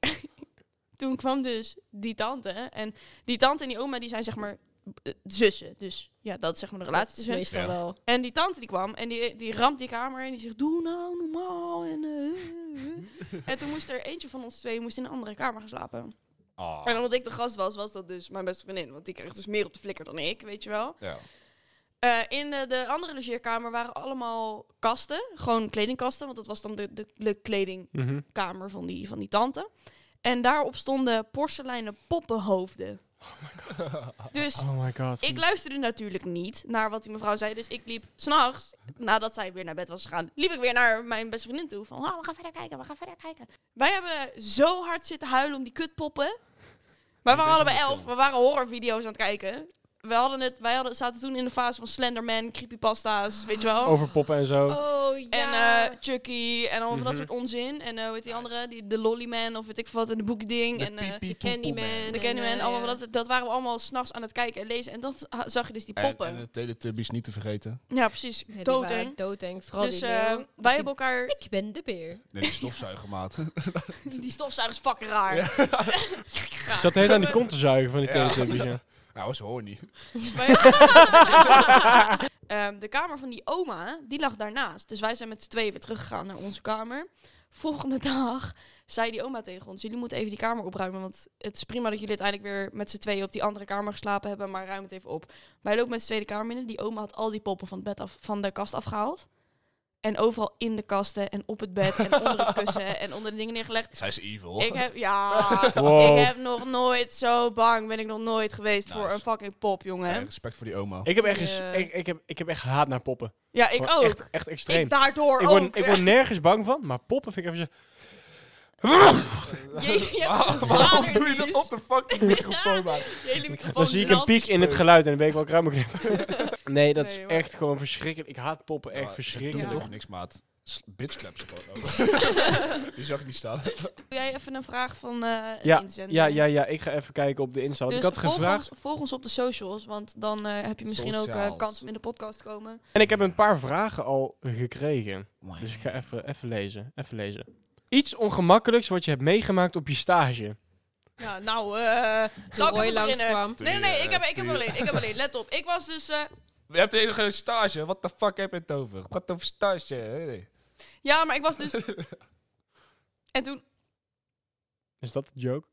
[SPEAKER 1] toen kwam dus die tante. En die tante en die oma die zijn zeg maar eh, zussen. Dus ja, dat is zeg maar de relatie
[SPEAKER 4] Dat is
[SPEAKER 1] tussen hen.
[SPEAKER 4] meestal
[SPEAKER 3] Ja.
[SPEAKER 4] wel.
[SPEAKER 2] Oh.
[SPEAKER 1] En die tante die kwam en die, die ramt die kamer en die zegt, doe nou normaal. En, eh, en toen moest er eentje van ons twee moest in een andere kamer gaan slapen.
[SPEAKER 3] Ah.
[SPEAKER 1] En omdat ik de gast was, was dat dus mijn beste vriendin. Want die kreeg dus meer op de flikker dan ik, weet je wel.
[SPEAKER 3] Ja.
[SPEAKER 1] Eh, in de, de andere logeerkamer waren allemaal kasten. Gewoon kledingkasten, want dat was dan de, de, de dus
[SPEAKER 2] Mhm.
[SPEAKER 1] kledingkamer van die, van die tante. En daarop stonden porseleinen poppenhoofden. Oh my god. Dus
[SPEAKER 2] Oh my god.
[SPEAKER 3] Hm.
[SPEAKER 1] ik luisterde natuurlijk niet naar wat die mevrouw zei. Dus ik liep s'nachts, nadat zij weer naar bed was gegaan, liep ik weer naar mijn beste vriendin toe. Van, "Ah, we gaan verder kijken, we gaan verder kijken. Wij hebben zo hard zitten huilen om die kutpoppen. Wij
[SPEAKER 3] Ik
[SPEAKER 1] waren
[SPEAKER 3] weet
[SPEAKER 1] allebei
[SPEAKER 3] zo'n
[SPEAKER 1] elf,
[SPEAKER 3] film.
[SPEAKER 1] we waren horrorvideo's aan het kijken. We hadden het, wij hadden, zaten toen in de fase van Slenderman, creepypasta's, weet je wel.
[SPEAKER 2] Over poppen en zo.
[SPEAKER 4] Oh ja.
[SPEAKER 1] En eh, Chucky en al van dat
[SPEAKER 2] Mhm.
[SPEAKER 1] soort onzin. En eh, hoe heet die andere? Die, de Lollyman of weet ik veel wat. En de Boekding.
[SPEAKER 3] De
[SPEAKER 1] en eh,
[SPEAKER 3] piepie
[SPEAKER 4] Candyman.
[SPEAKER 3] poepoe man.
[SPEAKER 1] de Candyman.
[SPEAKER 4] en, eh,
[SPEAKER 1] allemaal,
[SPEAKER 4] ja.
[SPEAKER 1] dat, dat waren we allemaal s'nachts aan het kijken en lezen. En dan ha- zag je dus die
[SPEAKER 3] En,
[SPEAKER 1] poppen.
[SPEAKER 3] en de Teletubbies niet te vergeten.
[SPEAKER 1] Ja, precies.
[SPEAKER 4] Nee, die waren
[SPEAKER 1] Doodeng.
[SPEAKER 4] Doodeng, vooral
[SPEAKER 1] Dus
[SPEAKER 4] die
[SPEAKER 1] eh,
[SPEAKER 4] leeuw. Die-
[SPEAKER 1] wij hebben elkaar...
[SPEAKER 4] Ik ben de beer.
[SPEAKER 3] Nee, die stofzuigermaat.
[SPEAKER 1] Die stofzuiger is fucking raar.
[SPEAKER 3] Ja.
[SPEAKER 2] Ik zat de hele tijd aan die kont te zuigen van die
[SPEAKER 3] Ja.
[SPEAKER 2] teletubbies. ja.
[SPEAKER 3] nou, was horny.
[SPEAKER 1] Maar- Ehm, de kamer van die oma, die lag daarnaast. Dus wij zijn met z'n tweeën weer teruggegaan naar onze kamer. Volgende dag zei die oma tegen ons... jullie moeten even die kamer opruimen... want het is prima dat jullie uiteindelijk weer met z'n tweeën... op die andere kamer geslapen hebben, maar ruim het even op. Wij lopen met z'n tweede kamer binnen. Die oma had al die poppen van, het bed af, van de kast afgehaald. En overal in de kasten en op het bed en onder het kussen... en onder de dingen neergelegd.
[SPEAKER 3] Zij is evil.
[SPEAKER 1] Ik heb, ja,
[SPEAKER 2] Wow.
[SPEAKER 1] ik heb nog nooit zo bang ben ik nog nooit geweest voor
[SPEAKER 3] Nice.
[SPEAKER 1] een fucking pop, jongen.
[SPEAKER 3] Eh, respect voor die oma.
[SPEAKER 2] Ik heb, echt ges-
[SPEAKER 1] Ja.
[SPEAKER 2] ik, ik, heb, ik heb echt haat naar poppen.
[SPEAKER 1] ja, ik
[SPEAKER 2] Gewoon
[SPEAKER 1] ook.
[SPEAKER 2] Echt, echt extreem.
[SPEAKER 1] Ik daardoor
[SPEAKER 2] Ik
[SPEAKER 1] ook.
[SPEAKER 2] word, ik word nergens bang van, maar poppen vind ik even zo...
[SPEAKER 1] Je, je hebt zo'n
[SPEAKER 3] Waarom
[SPEAKER 1] vader
[SPEAKER 3] doe je
[SPEAKER 1] die
[SPEAKER 3] dat
[SPEAKER 1] is-
[SPEAKER 3] op de fucking microfoon, man?
[SPEAKER 1] je hele microfoon
[SPEAKER 2] Dan zie ik een
[SPEAKER 1] knalt.
[SPEAKER 2] piek in het geluid en dan ben ik wel kruim Nee, dat is
[SPEAKER 1] Nee, maar-
[SPEAKER 2] echt gewoon verschrikkelijk. Ik haat poppen echt
[SPEAKER 3] Ja,
[SPEAKER 2] verschrikkelijk.
[SPEAKER 3] Doe
[SPEAKER 1] Ja.
[SPEAKER 3] toch niks, maat. S- Bitch clap ze gewoon over. Die zag ik niet staan.
[SPEAKER 1] Doe jij even een vraag van eh
[SPEAKER 2] Ja,
[SPEAKER 1] inzenden?
[SPEAKER 2] Ja, ja, ja, ik ga even kijken op de Insta. Want
[SPEAKER 1] Dus
[SPEAKER 2] ik had
[SPEAKER 1] volg,
[SPEAKER 2] gevraagd.
[SPEAKER 1] Ons, volg ons op de socials, want dan eh, heb je misschien ook eh
[SPEAKER 3] Socials.
[SPEAKER 1] kans om in de podcast te komen.
[SPEAKER 2] En ik heb een paar vragen al gekregen. Dus ik ga even, even lezen. Even lezen. Iets ongemakkelijks wat je hebt meegemaakt op je stage.
[SPEAKER 1] Ja, nou, eh
[SPEAKER 4] Toen
[SPEAKER 1] zou ik eh,
[SPEAKER 4] Roy
[SPEAKER 1] even beginnen?
[SPEAKER 4] langskwam.
[SPEAKER 1] Nee, nee, nee, ik heb, ik heb alleen, ik heb alleen, let op. Ik was dus, eh,
[SPEAKER 3] Je hebt even geen stage. What the fuck heb je het over? Wat over stage? Hey.
[SPEAKER 1] ja, maar ik was dus... En toen,
[SPEAKER 2] Is dat de joke?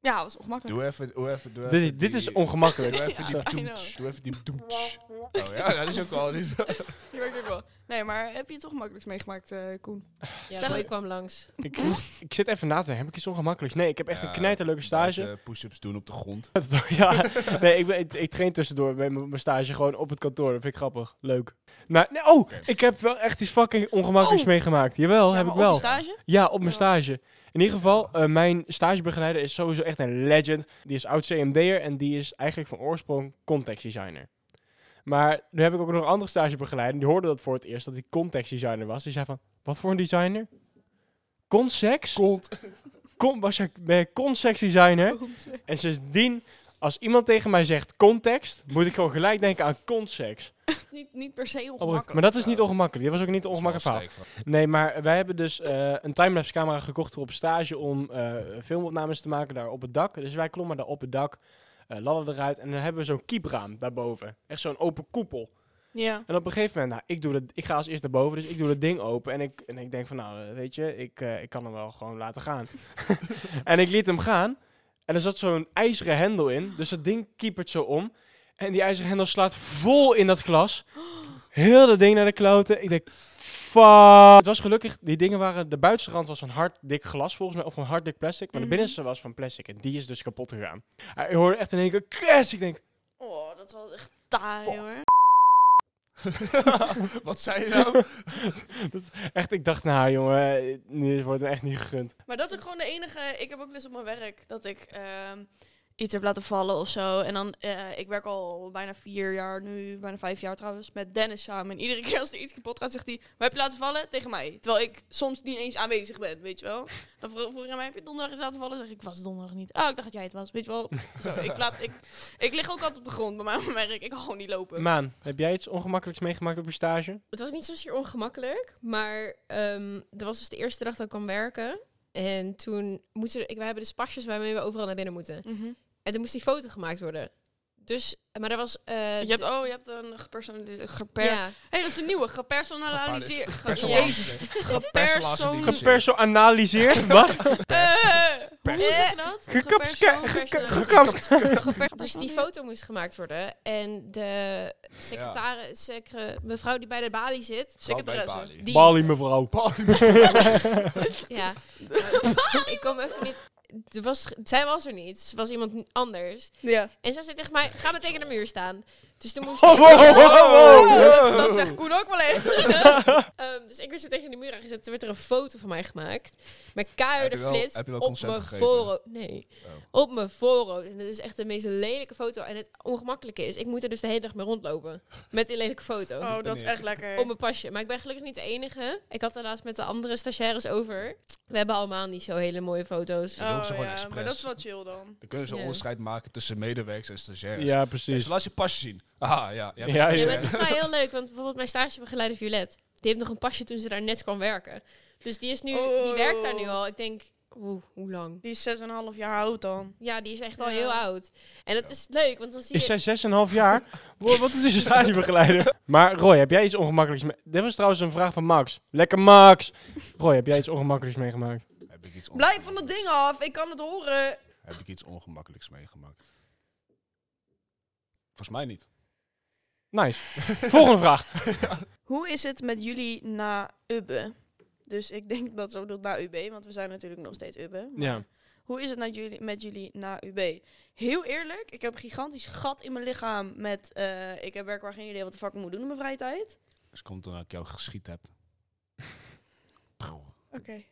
[SPEAKER 1] ja, dat was ongemakkelijk.
[SPEAKER 3] Doe even, doe even, doe even
[SPEAKER 2] Dit, dit is
[SPEAKER 3] die-
[SPEAKER 2] ongemakkelijk.
[SPEAKER 3] Doe even
[SPEAKER 1] Ja,
[SPEAKER 3] die
[SPEAKER 1] I know.
[SPEAKER 3] doemtsch. Doe even die doemtsch. Oh ja, dat is ook al. die is-
[SPEAKER 1] Die werkt ook wel. Nee, maar heb je het ongemakkelijks meegemaakt, eh, Koen?
[SPEAKER 4] Ja,
[SPEAKER 1] Stel-
[SPEAKER 4] Roy kwam langs.
[SPEAKER 2] ik, ik zit even na te denken. Heb ik iets ongemakkelijks? Nee, ik heb echt
[SPEAKER 3] Ja,
[SPEAKER 2] een knijterleuke stage.
[SPEAKER 3] buiten Push-ups doen op de grond.
[SPEAKER 2] ja, nee, ik, ben, ik, ik train tussendoor bij mijn mijn stage gewoon op het kantoor. Dat vind ik grappig. Leuk. Nou, nee, oh,
[SPEAKER 3] Oké.
[SPEAKER 2] ik heb wel echt iets fucking ongemakkelijks
[SPEAKER 1] Oh.
[SPEAKER 2] meegemaakt. Jawel,
[SPEAKER 1] ja,
[SPEAKER 2] heb
[SPEAKER 1] maar
[SPEAKER 2] ik
[SPEAKER 1] op
[SPEAKER 2] wel.
[SPEAKER 1] een stage?
[SPEAKER 2] Ja, op mijn
[SPEAKER 1] Ja.
[SPEAKER 2] stage. In ieder geval, eh, mijn stagebegeleider is sowieso echt een legend. Die is oud CMD'er en die is eigenlijk van oorsprong contextdesigner. Maar nu heb ik ook nog een andere stagebegeleider. en Die hoorde dat voor het eerst, dat hij contextdesigner was. Die zei van, wat voor een designer? Concex?
[SPEAKER 3] Kont.
[SPEAKER 2] Con was jij, ben je concex designer? En sindsdien, als iemand tegen mij zegt context, moet ik gewoon gelijk denken aan concex.
[SPEAKER 1] Niet, niet per se ongemakkelijk.
[SPEAKER 2] Oh, maar dat is niet ongemakkelijk. Dit was ook niet een ongemakkelijk verhaal. Nee, maar wij hebben dus eh, een timelapse camera gekocht voor op stage om eh, filmopnames te maken daar op het dak. Dus wij klommen daar op het dak, eh ladden eruit en dan hebben we zo'n kiepraam daarboven. Echt zo'n open koepel.
[SPEAKER 1] Ja.
[SPEAKER 2] En op een gegeven moment, nou, ik, doe dat, ik ga als eerst naar boven, dus ik doe dat ding open. En ik, en ik denk van, nou, eh, weet je, ik, eh, ik kan hem wel gewoon laten gaan. en ik liet hem gaan. En er zat zo'n ijzeren hendel in, dus dat ding kiepert zo om. En die ijzeren hendel slaat vol in dat glas. Heel dat ding naar de kloten. Ik denk, fuck. Het was gelukkig, die dingen waren, de buitenste rand was van hard dik glas volgens mij, of van hard dik plastic. Maar
[SPEAKER 1] Mhm.
[SPEAKER 2] de binnenste was van plastic en die is dus kapot gegaan. Ah, Ik hoorde echt in één keer, crash. Ik denk,
[SPEAKER 1] Oh, dat was echt taai
[SPEAKER 3] Fuck.
[SPEAKER 1] hoor.
[SPEAKER 3] Wat zei je nou?
[SPEAKER 2] dat, echt, ik dacht, nou jongen, eh, dit wordt me echt niet gegund.
[SPEAKER 1] Maar dat is ook gewoon de enige. Ik heb ook les op mijn werk dat ik ehm, iets heb laten vallen of zo. En dan, eh, ik werk al bijna vier jaar nu, bijna vijf jaar trouwens, met Dennis samen. En iedere keer als er iets kapot gaat, zegt hij: Wat heb je laten vallen? Tegen mij. Terwijl ik soms niet eens aanwezig ben, weet je wel. Dan vroeg vroeg hij aan mij: Heb je donderdag eens laten vallen? Zeg ik: "Ik Was donderdag niet. Oh, ik dacht dat jij het was, weet je wel. zo, ik, laat, ik, ik lig ook altijd op de grond bij mij op mijn werk. Ik kan gewoon niet lopen.
[SPEAKER 2] Maan, heb jij iets ongemakkelijks meegemaakt op je stage?
[SPEAKER 4] Het was niet zozeer ongemakkelijk, maar ehm dat was dus de eerste dag dat ik kwam werken. En toen moesten we, ik, we hebben dus pasjes waarmee we overal naar binnen moeten.
[SPEAKER 1] Mhm.
[SPEAKER 4] En toen moest die foto gemaakt worden. Dus, maar dat was... eh,
[SPEAKER 1] Je hebt, oh, je hebt een gepersonaliseerd. Geper
[SPEAKER 4] ja,
[SPEAKER 1] hey, dat is een nieuwe. Gepersonaliseerd.
[SPEAKER 4] Gepersonaliseerd.
[SPEAKER 3] Gepersonaliseerd.
[SPEAKER 2] Geperso analyseerd? Wat?
[SPEAKER 1] Eh, hoe
[SPEAKER 3] Perso-
[SPEAKER 1] zeg je dat?
[SPEAKER 2] Gekapske-
[SPEAKER 1] Geperso-
[SPEAKER 4] dus die foto moest gemaakt worden. En de secretaris, secre, mevrouw die bij de balie zit...
[SPEAKER 3] Vooral bij
[SPEAKER 1] secretaresse.
[SPEAKER 3] Bali.
[SPEAKER 4] Die,
[SPEAKER 2] Bali mevrouw.
[SPEAKER 4] Ja. ik kom even niet... Er was, zij was er niet. Ze was iemand anders.
[SPEAKER 1] Ja.
[SPEAKER 4] En zij zei tegen mij, ga maar tegen de muur staan. Dus toen moest
[SPEAKER 2] Oh,
[SPEAKER 4] ik...
[SPEAKER 2] wow, wow, wow.
[SPEAKER 1] Dat zegt Koen ook wel even.
[SPEAKER 4] Ehm, dus ik werd zo tegen de muur aangezet. Toen werd er een foto van mij gemaakt. Met keiharde
[SPEAKER 3] Heb je wel-
[SPEAKER 4] flits
[SPEAKER 3] heb je wel
[SPEAKER 4] op
[SPEAKER 3] consent
[SPEAKER 4] mijn
[SPEAKER 3] gegeven?
[SPEAKER 4] voorhoofd. Nee.
[SPEAKER 3] Oh.
[SPEAKER 4] Op mijn voorhoofd. En dat is echt de meest lelijke foto. En het ongemakkelijke is, ik moet er dus de hele dag mee rondlopen. Met die lelijke foto.
[SPEAKER 1] Oh, dat is echt
[SPEAKER 4] Op
[SPEAKER 1] lekker.
[SPEAKER 4] mijn pasje. Maar ik ben gelukkig niet de enige. Ik had er laatst met de andere stagiaires over. We hebben allemaal niet zo hele mooie foto's.
[SPEAKER 3] doen ze gewoon expres.
[SPEAKER 1] maar dat is wel chill dan.
[SPEAKER 3] Dan kunnen ze een
[SPEAKER 4] Ja.
[SPEAKER 3] onderscheid maken tussen medewerkers en stagiaires.
[SPEAKER 2] Ja,
[SPEAKER 3] Dus
[SPEAKER 2] precies.
[SPEAKER 3] laat je pasje zien. Ah, ja. jij bent
[SPEAKER 2] Ja,
[SPEAKER 4] Ja,
[SPEAKER 3] stagiair.
[SPEAKER 4] maar het is wel heel leuk, want bijvoorbeeld mijn stagebegeleider Violet, die heeft nog een pasje toen ze daar net kwam werken. Dus die is nu, die
[SPEAKER 1] Oh.
[SPEAKER 4] werkt daar nu al. Ik denk, oeh, hoe lang?
[SPEAKER 1] Die is 6,5 jaar oud dan.
[SPEAKER 4] Ja, die is echt al
[SPEAKER 1] Ja.
[SPEAKER 4] heel oud. En dat is leuk, want dan zie je...
[SPEAKER 2] Is zij 6,5 jaar? Wow, Wat is je stagebegeleider? Maar Roy, heb jij iets ongemakkelijks meegemaakt? Dit was trouwens een vraag van Max. Lekker Max! Roy, heb jij iets ongemakkelijks meegemaakt?
[SPEAKER 3] Heb ik iets
[SPEAKER 1] Blijf van
[SPEAKER 3] ongemakkelijks-
[SPEAKER 1] dat ding af, ik kan het horen.
[SPEAKER 3] Heb ik iets ongemakkelijks meegemaakt? Volgens mij niet.
[SPEAKER 2] Nice. Volgende vraag.
[SPEAKER 1] Hoe is het met jullie na Ubbe? Dus ik denk dat ze bedoelt na UB, want we zijn natuurlijk nog steeds Ubbe. maar
[SPEAKER 2] Ja.
[SPEAKER 1] Hoe is het met jullie, met jullie na UB? Heel eerlijk, ik heb een gigantisch gat in mijn lichaam met... eh, ik heb werkbaar geen idee wat de fuck ik moet doen in mijn vrije tijd.
[SPEAKER 3] Dus komt omdat ik jou geschiet heb.
[SPEAKER 1] Oké.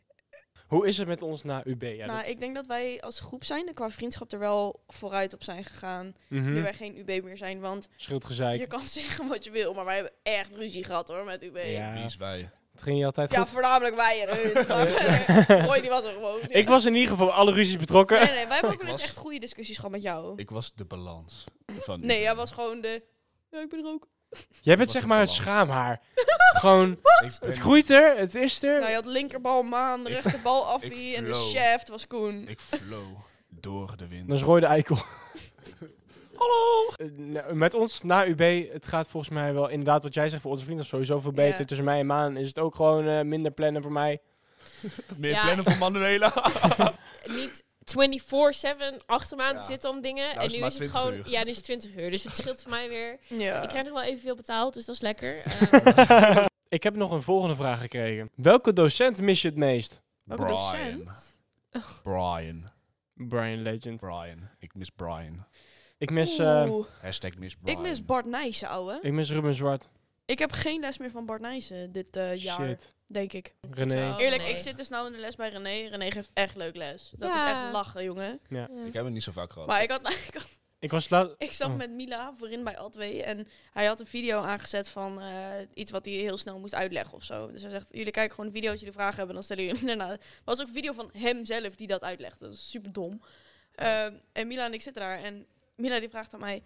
[SPEAKER 2] Hoe is het met ons na UB? Ja,
[SPEAKER 1] nou,
[SPEAKER 2] dat-
[SPEAKER 1] ik denk dat wij als groep zijnde qua vriendschap er wel vooruit op zijn gegaan. Nu
[SPEAKER 2] Mhm.
[SPEAKER 1] wij geen UB meer zijn, want je
[SPEAKER 2] Schildgezeik.
[SPEAKER 1] kan zeggen wat je wil, maar wij hebben echt ruzie gehad hoor met UB. Ja,
[SPEAKER 3] Die
[SPEAKER 2] Ja,
[SPEAKER 3] is wij.
[SPEAKER 2] het ging je altijd goed.
[SPEAKER 1] voornamelijk wij en hun. maar verder, Roy die was er gewoon. ja.
[SPEAKER 2] Ik was in ieder geval bij alle ruzies betrokken.
[SPEAKER 1] Nee, nee, wij hebben ook wel eens
[SPEAKER 3] was-
[SPEAKER 1] echt goede discussies gehad met jou.
[SPEAKER 3] Ik was de balans. Van
[SPEAKER 1] Nee, jij was gewoon de... Ja, ik ben er ook.
[SPEAKER 2] Jij bent
[SPEAKER 3] was
[SPEAKER 2] zeg
[SPEAKER 3] een
[SPEAKER 2] maar het
[SPEAKER 3] balans.
[SPEAKER 2] schaamhaar. Gewoon,
[SPEAKER 3] Ik ben-
[SPEAKER 2] het groeit er, het is
[SPEAKER 1] Nou, je
[SPEAKER 2] er.
[SPEAKER 1] had linkerbal maan, de
[SPEAKER 3] Ik-
[SPEAKER 1] rechterbal affie
[SPEAKER 3] ik
[SPEAKER 1] en de
[SPEAKER 3] flow.
[SPEAKER 1] chef was Koen.
[SPEAKER 3] Ik flow door de wind.
[SPEAKER 2] Dan is Roy de eikel. Hallo! Met ons na UB, het gaat volgens mij wel inderdaad wat jij zegt voor onze vrienden sowieso veel beter.
[SPEAKER 1] Ja.
[SPEAKER 2] Tussen mij en Maan is het ook gewoon eh, minder plannen voor mij.
[SPEAKER 3] Meer
[SPEAKER 4] Ja.
[SPEAKER 3] plannen voor Manuela.
[SPEAKER 4] niet 24-7 achter me aan te
[SPEAKER 3] Ja.
[SPEAKER 4] zitten om dingen.
[SPEAKER 3] Nou
[SPEAKER 4] en
[SPEAKER 3] is
[SPEAKER 4] nu
[SPEAKER 3] het maar
[SPEAKER 4] is het
[SPEAKER 3] 20
[SPEAKER 4] gewoon...
[SPEAKER 3] uur.
[SPEAKER 4] Ja, nu is het 20 uur. Dus het scheelt voor mij weer.
[SPEAKER 1] Ja.
[SPEAKER 4] Ik krijg nog wel evenveel betaald, dus dat is lekker. Ehm,
[SPEAKER 2] Ik heb nog een volgende vraag gekregen. Welke docent mis je het meest?
[SPEAKER 1] Welke
[SPEAKER 3] Brian.
[SPEAKER 1] docent?
[SPEAKER 3] Brian.
[SPEAKER 2] Brian Legend.
[SPEAKER 3] Brian. Ik mis Brian.
[SPEAKER 2] Ik mis, eh,
[SPEAKER 1] Oeh,
[SPEAKER 3] Hashtag mis Brian.
[SPEAKER 1] ik mis Bart Nijssen, ouwe.
[SPEAKER 2] ik mis Ruben Zwart.
[SPEAKER 1] Ik heb geen les meer van Bart Nijssen dit eh, jaar,
[SPEAKER 2] Shit.
[SPEAKER 1] denk ik.
[SPEAKER 2] René.
[SPEAKER 4] Zo. Oh,
[SPEAKER 1] Eerlijk,
[SPEAKER 4] nee.
[SPEAKER 1] ik zit dus nou in de les bij René. René geeft echt leuk les. Dat
[SPEAKER 4] Ja.
[SPEAKER 1] is echt lachen, jongen.
[SPEAKER 3] Ik heb het niet zo vaak gehad.
[SPEAKER 1] Maar ik, had, ik, had-
[SPEAKER 2] Ik was laat...
[SPEAKER 1] ik zat
[SPEAKER 2] Oh.
[SPEAKER 1] met Mila voorin bij Altwee en hij had een video aangezet van eh, iets wat hij heel snel moest uitleggen of zo. Dus hij zegt, jullie kijken gewoon een video als jullie vragen hebben, dan stellen jullie daarna. Er was ook een video van hem zelf die dat uitlegde. Dat is super dom. Ehm, en Mila en ik zitten daar en Mila die vraagt aan mij,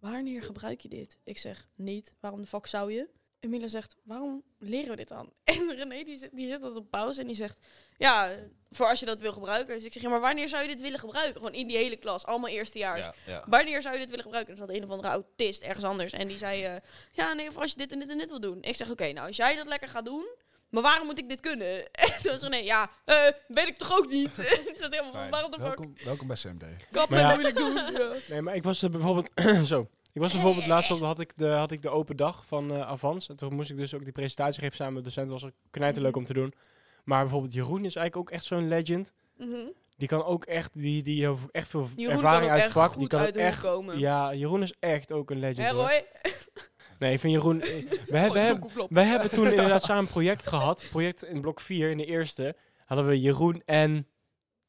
[SPEAKER 1] wanneer gebruik je dit? Ik zeg, niet. Waarom de fuck zou je? En Mila zegt, waarom leren we dit dan? En René die zit, die zit dat op pauze en die zegt, ja, eh, voor als je dat wil gebruiken. Dus ik zeg, ja, maar wanneer zou je dit willen gebruiken? Gewoon in die hele klas, allemaal eerstejaars.
[SPEAKER 3] Ja, ja.
[SPEAKER 1] Wanneer zou je dit willen gebruiken? Er zat een of andere autist ergens anders. En die zei, eh, ja nee, voor als je dit en dit en dit wil doen. Ik zeg, oké, nou als jij dat lekker gaat doen, maar waarom moet ik dit kunnen? En toen was nee, ja, eh, weet ik toch ook niet. Ik zat helemaal van,
[SPEAKER 3] Fijn.
[SPEAKER 1] waarom de fuck?
[SPEAKER 3] welkom, welkom bij CMD.
[SPEAKER 1] Kap
[SPEAKER 2] Maar
[SPEAKER 1] met
[SPEAKER 2] ja.
[SPEAKER 1] moeilijk doen. Ja.
[SPEAKER 2] Nee, maar ik was eh, bijvoorbeeld... zo. Ik was bijvoorbeeld laatst op, had ik de, had ik de open dag van eh Avans. En toen moest ik dus ook die presentatie geven samen met de docent. was ook knijterleuk om te doen. Maar bijvoorbeeld Jeroen is eigenlijk ook echt zo'n legend.
[SPEAKER 1] Mhm.
[SPEAKER 2] Die kan ook echt, die, die heeft echt veel
[SPEAKER 1] Jeroen
[SPEAKER 2] ervaring
[SPEAKER 1] kan ook
[SPEAKER 2] uit
[SPEAKER 1] echt
[SPEAKER 2] het vak.
[SPEAKER 1] goed
[SPEAKER 2] die kan
[SPEAKER 1] uit
[SPEAKER 2] ook
[SPEAKER 1] de hoek
[SPEAKER 2] echt.
[SPEAKER 1] komen.
[SPEAKER 2] Ja, Jeroen is echt ook een legend.
[SPEAKER 1] Hè,
[SPEAKER 2] hoor.
[SPEAKER 1] Roy?
[SPEAKER 2] Nee, ik vind Jeroen. eh, We hebben, we hebben, we hebben toen inderdaad samen een project gehad. Project in blok 4, in de eerste. Hadden we Jeroen en.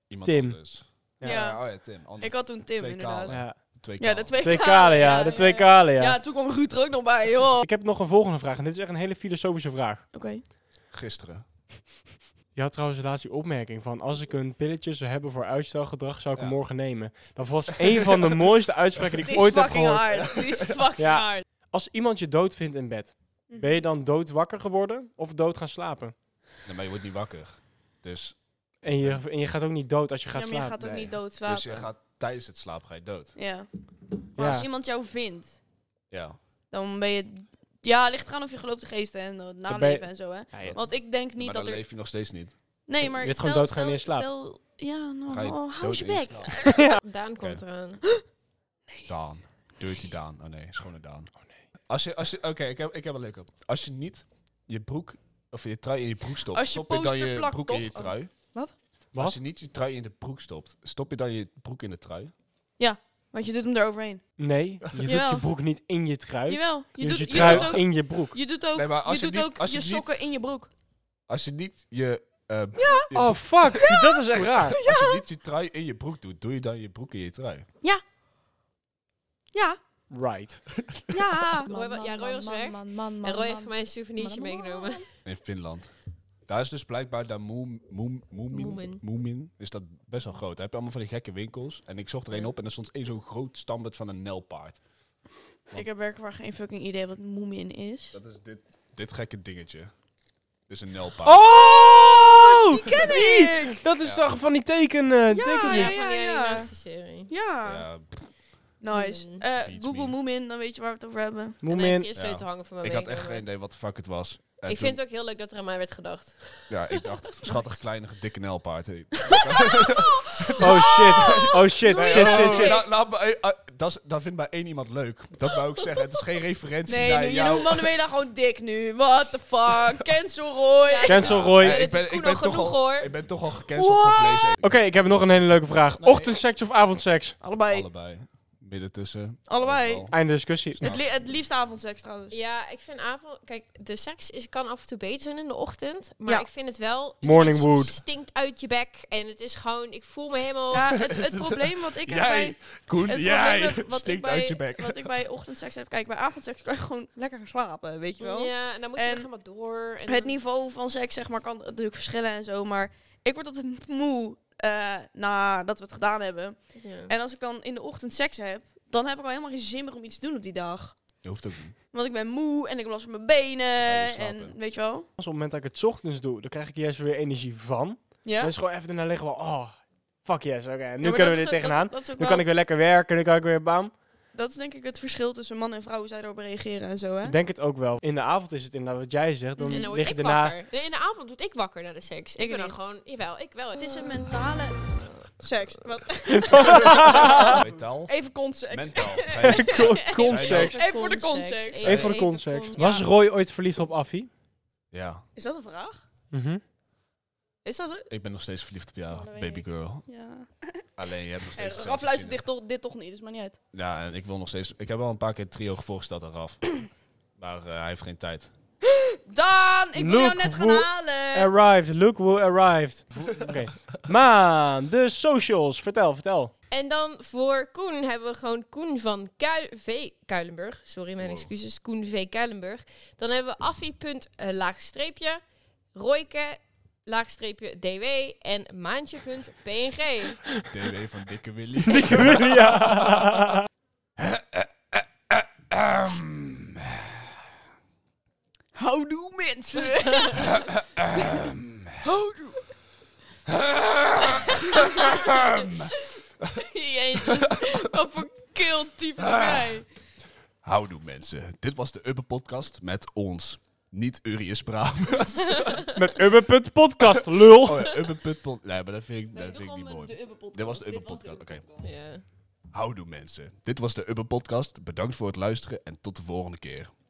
[SPEAKER 3] Iemand
[SPEAKER 2] Tim.
[SPEAKER 3] anders.
[SPEAKER 1] Ja.
[SPEAKER 3] oh ja, Tim. Ander,
[SPEAKER 1] Ik had toen Tim,
[SPEAKER 3] Twee
[SPEAKER 1] inderdaad.
[SPEAKER 3] kalen.
[SPEAKER 2] Ja,
[SPEAKER 3] twee
[SPEAKER 1] Ja, de
[SPEAKER 3] kalen.
[SPEAKER 1] twee,
[SPEAKER 2] twee
[SPEAKER 1] kalen,
[SPEAKER 2] kalen, ja. De twee kalen,
[SPEAKER 1] Ja.
[SPEAKER 2] ja.
[SPEAKER 1] toen kwam Ruud er ook nog bij, joh.
[SPEAKER 2] Ik heb nog een volgende vraag. En dit is echt een hele filosofische vraag.
[SPEAKER 1] Oké.
[SPEAKER 3] Gisteren.
[SPEAKER 2] Je had trouwens laatst die opmerking van... als ik een pilletje zou hebben voor uitstelgedrag... zou ik
[SPEAKER 3] Ja.
[SPEAKER 2] hem morgen nemen. Dat was een van de mooiste uitspraken die
[SPEAKER 1] Die
[SPEAKER 2] ik
[SPEAKER 1] is
[SPEAKER 2] ooit heb
[SPEAKER 1] fucking
[SPEAKER 2] gehoord.
[SPEAKER 1] hard. Die is fucking
[SPEAKER 2] Ja.
[SPEAKER 1] hard. Mhm.
[SPEAKER 2] Als iemand je dood vindt in bed... ben je dan dood wakker geworden of dood gaan slapen?
[SPEAKER 3] Nee, maar je wordt niet wakker. Dus,
[SPEAKER 2] En je, en je gaat ook niet dood als je
[SPEAKER 1] Ja,
[SPEAKER 2] gaat
[SPEAKER 1] maar je
[SPEAKER 2] slapen.
[SPEAKER 1] gaat ook
[SPEAKER 3] Nee.
[SPEAKER 1] niet dood slapen.
[SPEAKER 3] dus je gaat tijdens het slaap ga je dood.
[SPEAKER 1] Ja. Maar
[SPEAKER 2] Ja.
[SPEAKER 1] als iemand jou vindt,
[SPEAKER 3] Ja.
[SPEAKER 1] dan ben je... Ja, ligt eraan of je gelooft de geesten en het naleven en zo, hè.
[SPEAKER 2] Ja, je-
[SPEAKER 1] Want ik denk niet
[SPEAKER 3] maar
[SPEAKER 1] dat
[SPEAKER 3] dan
[SPEAKER 1] er...
[SPEAKER 3] leef je nog steeds niet.
[SPEAKER 1] Nee, maar
[SPEAKER 2] Je hebt
[SPEAKER 1] stel-
[SPEAKER 2] gewoon doodgaan in
[SPEAKER 1] stel-
[SPEAKER 2] je slaap.
[SPEAKER 1] stel- Ja,
[SPEAKER 3] Ga je
[SPEAKER 1] nou, oh, hou
[SPEAKER 3] dood
[SPEAKER 1] je
[SPEAKER 3] in je
[SPEAKER 1] bek.
[SPEAKER 3] slaap.
[SPEAKER 4] Daan komt eraan.
[SPEAKER 3] Daan. Dirty Daan. Oh nee, schone Daan. Oh nee. Als je, als je, Oké, ik, heb, ik heb een leuke. op. Als je niet je broek of je trui in je broek stopt,
[SPEAKER 1] Als je
[SPEAKER 3] stop je dan
[SPEAKER 1] poster
[SPEAKER 3] je
[SPEAKER 1] plakt,
[SPEAKER 3] broek in
[SPEAKER 1] toch?
[SPEAKER 3] je trui.
[SPEAKER 2] Wat?
[SPEAKER 3] Als je niet je trui in de broek stopt, stop je dan je broek in de trui.
[SPEAKER 1] Want je doet hem eroverheen.
[SPEAKER 2] Nee, je doet
[SPEAKER 1] Jawel.
[SPEAKER 2] je broek niet in je trui. Je,
[SPEAKER 1] Jawel. Je, doet,
[SPEAKER 2] doet je
[SPEAKER 1] je
[SPEAKER 2] trui
[SPEAKER 1] doet ook...
[SPEAKER 2] in je broek.
[SPEAKER 1] Je doet ook
[SPEAKER 3] Nee, maar als
[SPEAKER 1] je
[SPEAKER 3] je
[SPEAKER 1] doet
[SPEAKER 3] niet-
[SPEAKER 1] ook
[SPEAKER 3] als
[SPEAKER 1] je,
[SPEAKER 3] je niet-
[SPEAKER 1] sokken in je broek.
[SPEAKER 3] Als je niet je, eh, je
[SPEAKER 2] Oh, fuck. Dat is echt raar.
[SPEAKER 3] Als je niet je trui in je broek doet, doe je dan je broek in je trui.
[SPEAKER 1] Ja,
[SPEAKER 2] Right.
[SPEAKER 1] ja.
[SPEAKER 4] Roy wa- ja, Roy was weg. En Roy heeft voor mij een souvenirtje meegenomen.
[SPEAKER 3] In Finland. Daar is dus blijkbaar daar Moem- Moem- Moemin.
[SPEAKER 4] Moemin.
[SPEAKER 3] Moemin is dat best wel groot. Daar heb je allemaal van die gekke winkels. En ik zocht er een op en er stond één zo'n groot standbeeld van een nelpaard.
[SPEAKER 1] Ik heb werkelijk geen fucking idee wat Moomin is.
[SPEAKER 3] Dat is dit, dit gekke dingetje. Dit is een nelpaard.
[SPEAKER 2] Oh!
[SPEAKER 1] Die ken ik!
[SPEAKER 2] Dat is
[SPEAKER 3] Ja.
[SPEAKER 2] toch van die teken... eh,
[SPEAKER 1] Ja,
[SPEAKER 2] teken-
[SPEAKER 4] Ja,
[SPEAKER 1] ja,
[SPEAKER 4] van die
[SPEAKER 1] ja.
[SPEAKER 4] animatische serie.
[SPEAKER 1] Ja,
[SPEAKER 4] Ah.
[SPEAKER 3] Ja, pff,
[SPEAKER 1] nice.
[SPEAKER 4] Mm.
[SPEAKER 1] Eh,
[SPEAKER 3] Beats
[SPEAKER 1] Google
[SPEAKER 3] me.
[SPEAKER 1] Moomin, dan weet je waar we het over hebben.
[SPEAKER 4] En
[SPEAKER 2] Moem
[SPEAKER 4] hij heeft
[SPEAKER 2] in.
[SPEAKER 4] hier een
[SPEAKER 3] Ja.
[SPEAKER 4] sleutel hangen voor mijn
[SPEAKER 3] ik had echt
[SPEAKER 4] werkkamer.
[SPEAKER 3] geen idee wat de fuck het was. En
[SPEAKER 4] Ik
[SPEAKER 3] toen-
[SPEAKER 4] vind het ook heel leuk dat er aan mij werd gedacht.
[SPEAKER 3] Ja, ik dacht, schattig, kleinige, dikke nelpaard. Hey.
[SPEAKER 2] Oh shit. Oh shit,
[SPEAKER 1] Nee,
[SPEAKER 2] shit,
[SPEAKER 1] oh.
[SPEAKER 2] shit, shit.
[SPEAKER 3] Nou, nou, maar, eh, ah, dat, is- dat vindt maar één iemand leuk. Dat wou ik zeggen. Het is geen referentie
[SPEAKER 1] Nee,
[SPEAKER 3] naar
[SPEAKER 1] nu, je
[SPEAKER 3] jou.
[SPEAKER 1] noemt Manuela gewoon dik nu. What the fuck? Cancel Roy.
[SPEAKER 2] Cancel
[SPEAKER 3] Ja,
[SPEAKER 2] Roy.
[SPEAKER 3] eh,
[SPEAKER 2] Oké,
[SPEAKER 3] ik ben,
[SPEAKER 4] is
[SPEAKER 3] ik
[SPEAKER 4] goed
[SPEAKER 3] ben
[SPEAKER 4] nog
[SPEAKER 3] toch
[SPEAKER 4] genoeg,
[SPEAKER 3] al,
[SPEAKER 4] hoor.
[SPEAKER 3] ik ben toch al gecanceld van vlees.
[SPEAKER 2] ik heb nog een hele leuke vraag.
[SPEAKER 3] Nee.
[SPEAKER 2] Ochtendseks of avondseks?
[SPEAKER 1] Allebei.
[SPEAKER 3] Allebei. Midden tussen.
[SPEAKER 1] Allebei.
[SPEAKER 3] Overal.
[SPEAKER 2] Einde discussie.
[SPEAKER 1] Het, li het liefst avondseks trouwens.
[SPEAKER 4] Ja, ik vind avond... Kijk, de seks is, kan af en toe beter zijn in de ochtend. Maar
[SPEAKER 1] Ja.
[SPEAKER 4] ik vind het wel...
[SPEAKER 2] Morning
[SPEAKER 4] het
[SPEAKER 2] wood.
[SPEAKER 4] stinkt uit je bek. En het is gewoon... Ik voel me helemaal...
[SPEAKER 1] Ja, het, het probleem wat ik heb bij...
[SPEAKER 3] Jij, Koen,
[SPEAKER 1] Het
[SPEAKER 3] jij.
[SPEAKER 1] probleem wat ik
[SPEAKER 3] Stinkt
[SPEAKER 1] bij,
[SPEAKER 3] uit je bek.
[SPEAKER 1] Wat ik bij ochtendseks heb... Kijk, bij avondseks kan je gewoon lekker gaan slapen, weet je wel?
[SPEAKER 4] Ja, en dan moet je
[SPEAKER 1] En
[SPEAKER 4] nog helemaal door. En
[SPEAKER 1] Het
[SPEAKER 4] dan-
[SPEAKER 1] niveau van seks, zeg maar, kan natuurlijk verschillen en zo. Maar ik word altijd moe eh, nadat we het gedaan hebben.
[SPEAKER 4] Ja.
[SPEAKER 1] En als ik dan in de ochtend seks heb, dan heb ik al helemaal geen zin meer om iets te doen op die dag.
[SPEAKER 3] Je hoeft ook niet.
[SPEAKER 1] Want ik ben moe en ik heb last van mijn benen.
[SPEAKER 3] Ja, je slaapt,
[SPEAKER 1] en
[SPEAKER 3] hè.
[SPEAKER 1] weet je wel?
[SPEAKER 2] Als op het moment dat ik het 's ochtends doe, dan krijg ik juist weer energie van. Dan
[SPEAKER 1] Ja.
[SPEAKER 2] is het gewoon even daarna liggen van... Oh, fuck yes. Oké, nu
[SPEAKER 1] Ja, maar dat
[SPEAKER 2] kunnen
[SPEAKER 1] is
[SPEAKER 2] we
[SPEAKER 1] ook-
[SPEAKER 2] dit tegenaan.
[SPEAKER 1] Dat, dat, is ook
[SPEAKER 2] Nu
[SPEAKER 1] wel-
[SPEAKER 2] kan ik weer lekker werken. Nu kan ik weer bam.
[SPEAKER 1] dat is denk ik het verschil tussen man en vrouw, hoe zij erop reageren en zo, hè?
[SPEAKER 2] Ik denk het ook wel. In de avond is het inderdaad wat jij zegt. Dan
[SPEAKER 4] En dan word
[SPEAKER 2] lig je
[SPEAKER 4] ik
[SPEAKER 2] daarna...
[SPEAKER 4] wakker. Nee, in de avond word ik wakker na de seks. Ik,
[SPEAKER 1] Ik
[SPEAKER 4] ben dan
[SPEAKER 1] niet.
[SPEAKER 4] gewoon... Jawel, ik wel.
[SPEAKER 1] Oh, Het is een mentale eh, seks. Wat? Ah.
[SPEAKER 3] Metaal.
[SPEAKER 1] Even context.
[SPEAKER 3] Mentaal. Zijn-
[SPEAKER 2] Conseks.
[SPEAKER 1] Even voor de context.
[SPEAKER 4] Even-
[SPEAKER 2] Even voor de
[SPEAKER 4] even
[SPEAKER 2] conseks.
[SPEAKER 4] con-
[SPEAKER 2] Was
[SPEAKER 4] ja.
[SPEAKER 2] Roy ooit verliefd op Affie?
[SPEAKER 3] Ja,
[SPEAKER 1] Is dat een vraag?
[SPEAKER 2] Mhm.
[SPEAKER 1] Is dat een...
[SPEAKER 3] ik ben nog steeds verliefd op
[SPEAKER 1] Oh,
[SPEAKER 3] jou,
[SPEAKER 1] dat weet
[SPEAKER 3] baby
[SPEAKER 1] ik.
[SPEAKER 3] girl.
[SPEAKER 1] Ja.
[SPEAKER 3] Alleen, je hebt nog
[SPEAKER 1] Hey,
[SPEAKER 3] steeds...
[SPEAKER 1] Raf luistert dit toch, dit toch niet, dus maakt niet uit.
[SPEAKER 3] Ja, en ik wil nog steeds... Ik heb al een paar keer het trio voorgesteld aan Raf. Maar eh, hij heeft geen tijd.
[SPEAKER 1] Daan, ik wil jou
[SPEAKER 2] Look
[SPEAKER 1] net gaan
[SPEAKER 2] who
[SPEAKER 4] Eh.
[SPEAKER 1] halen.
[SPEAKER 2] Arrived. Look who arrived. Oké. Maan, de socials. Vertel, vertel.
[SPEAKER 4] En dan voor Koen hebben we gewoon Koen van Kuil v. Kuilenburg. Sorry, mijn
[SPEAKER 3] Wow.
[SPEAKER 4] excuses. Koen V. Kuilenburg. Dan hebben we Affie. punt, eh, Laagstreepje. Royke. Laagstreepje DW. En Maantje. punt, PNG.
[SPEAKER 3] DW van Dikke Willy.
[SPEAKER 2] ja.
[SPEAKER 3] Ehm,
[SPEAKER 1] Houdoe mensen. Houdoe. Jezus, wat voor keeltype ben jij.
[SPEAKER 3] Houdoe mensen, dit was de Upper Podcast met ons. Niet Urius Braam.
[SPEAKER 2] Met Ubbe.podcast, lul.
[SPEAKER 3] Oh ja, Upper Put Pod- Nee, maar dat vind ik, dat vind ik niet mooi.
[SPEAKER 1] Dit
[SPEAKER 3] Dit was de Upper Podcast, oké.
[SPEAKER 4] Ja.
[SPEAKER 3] Houdoe mensen. Dit was de Ubber Podcast. Bedankt voor het luisteren en tot de volgende keer.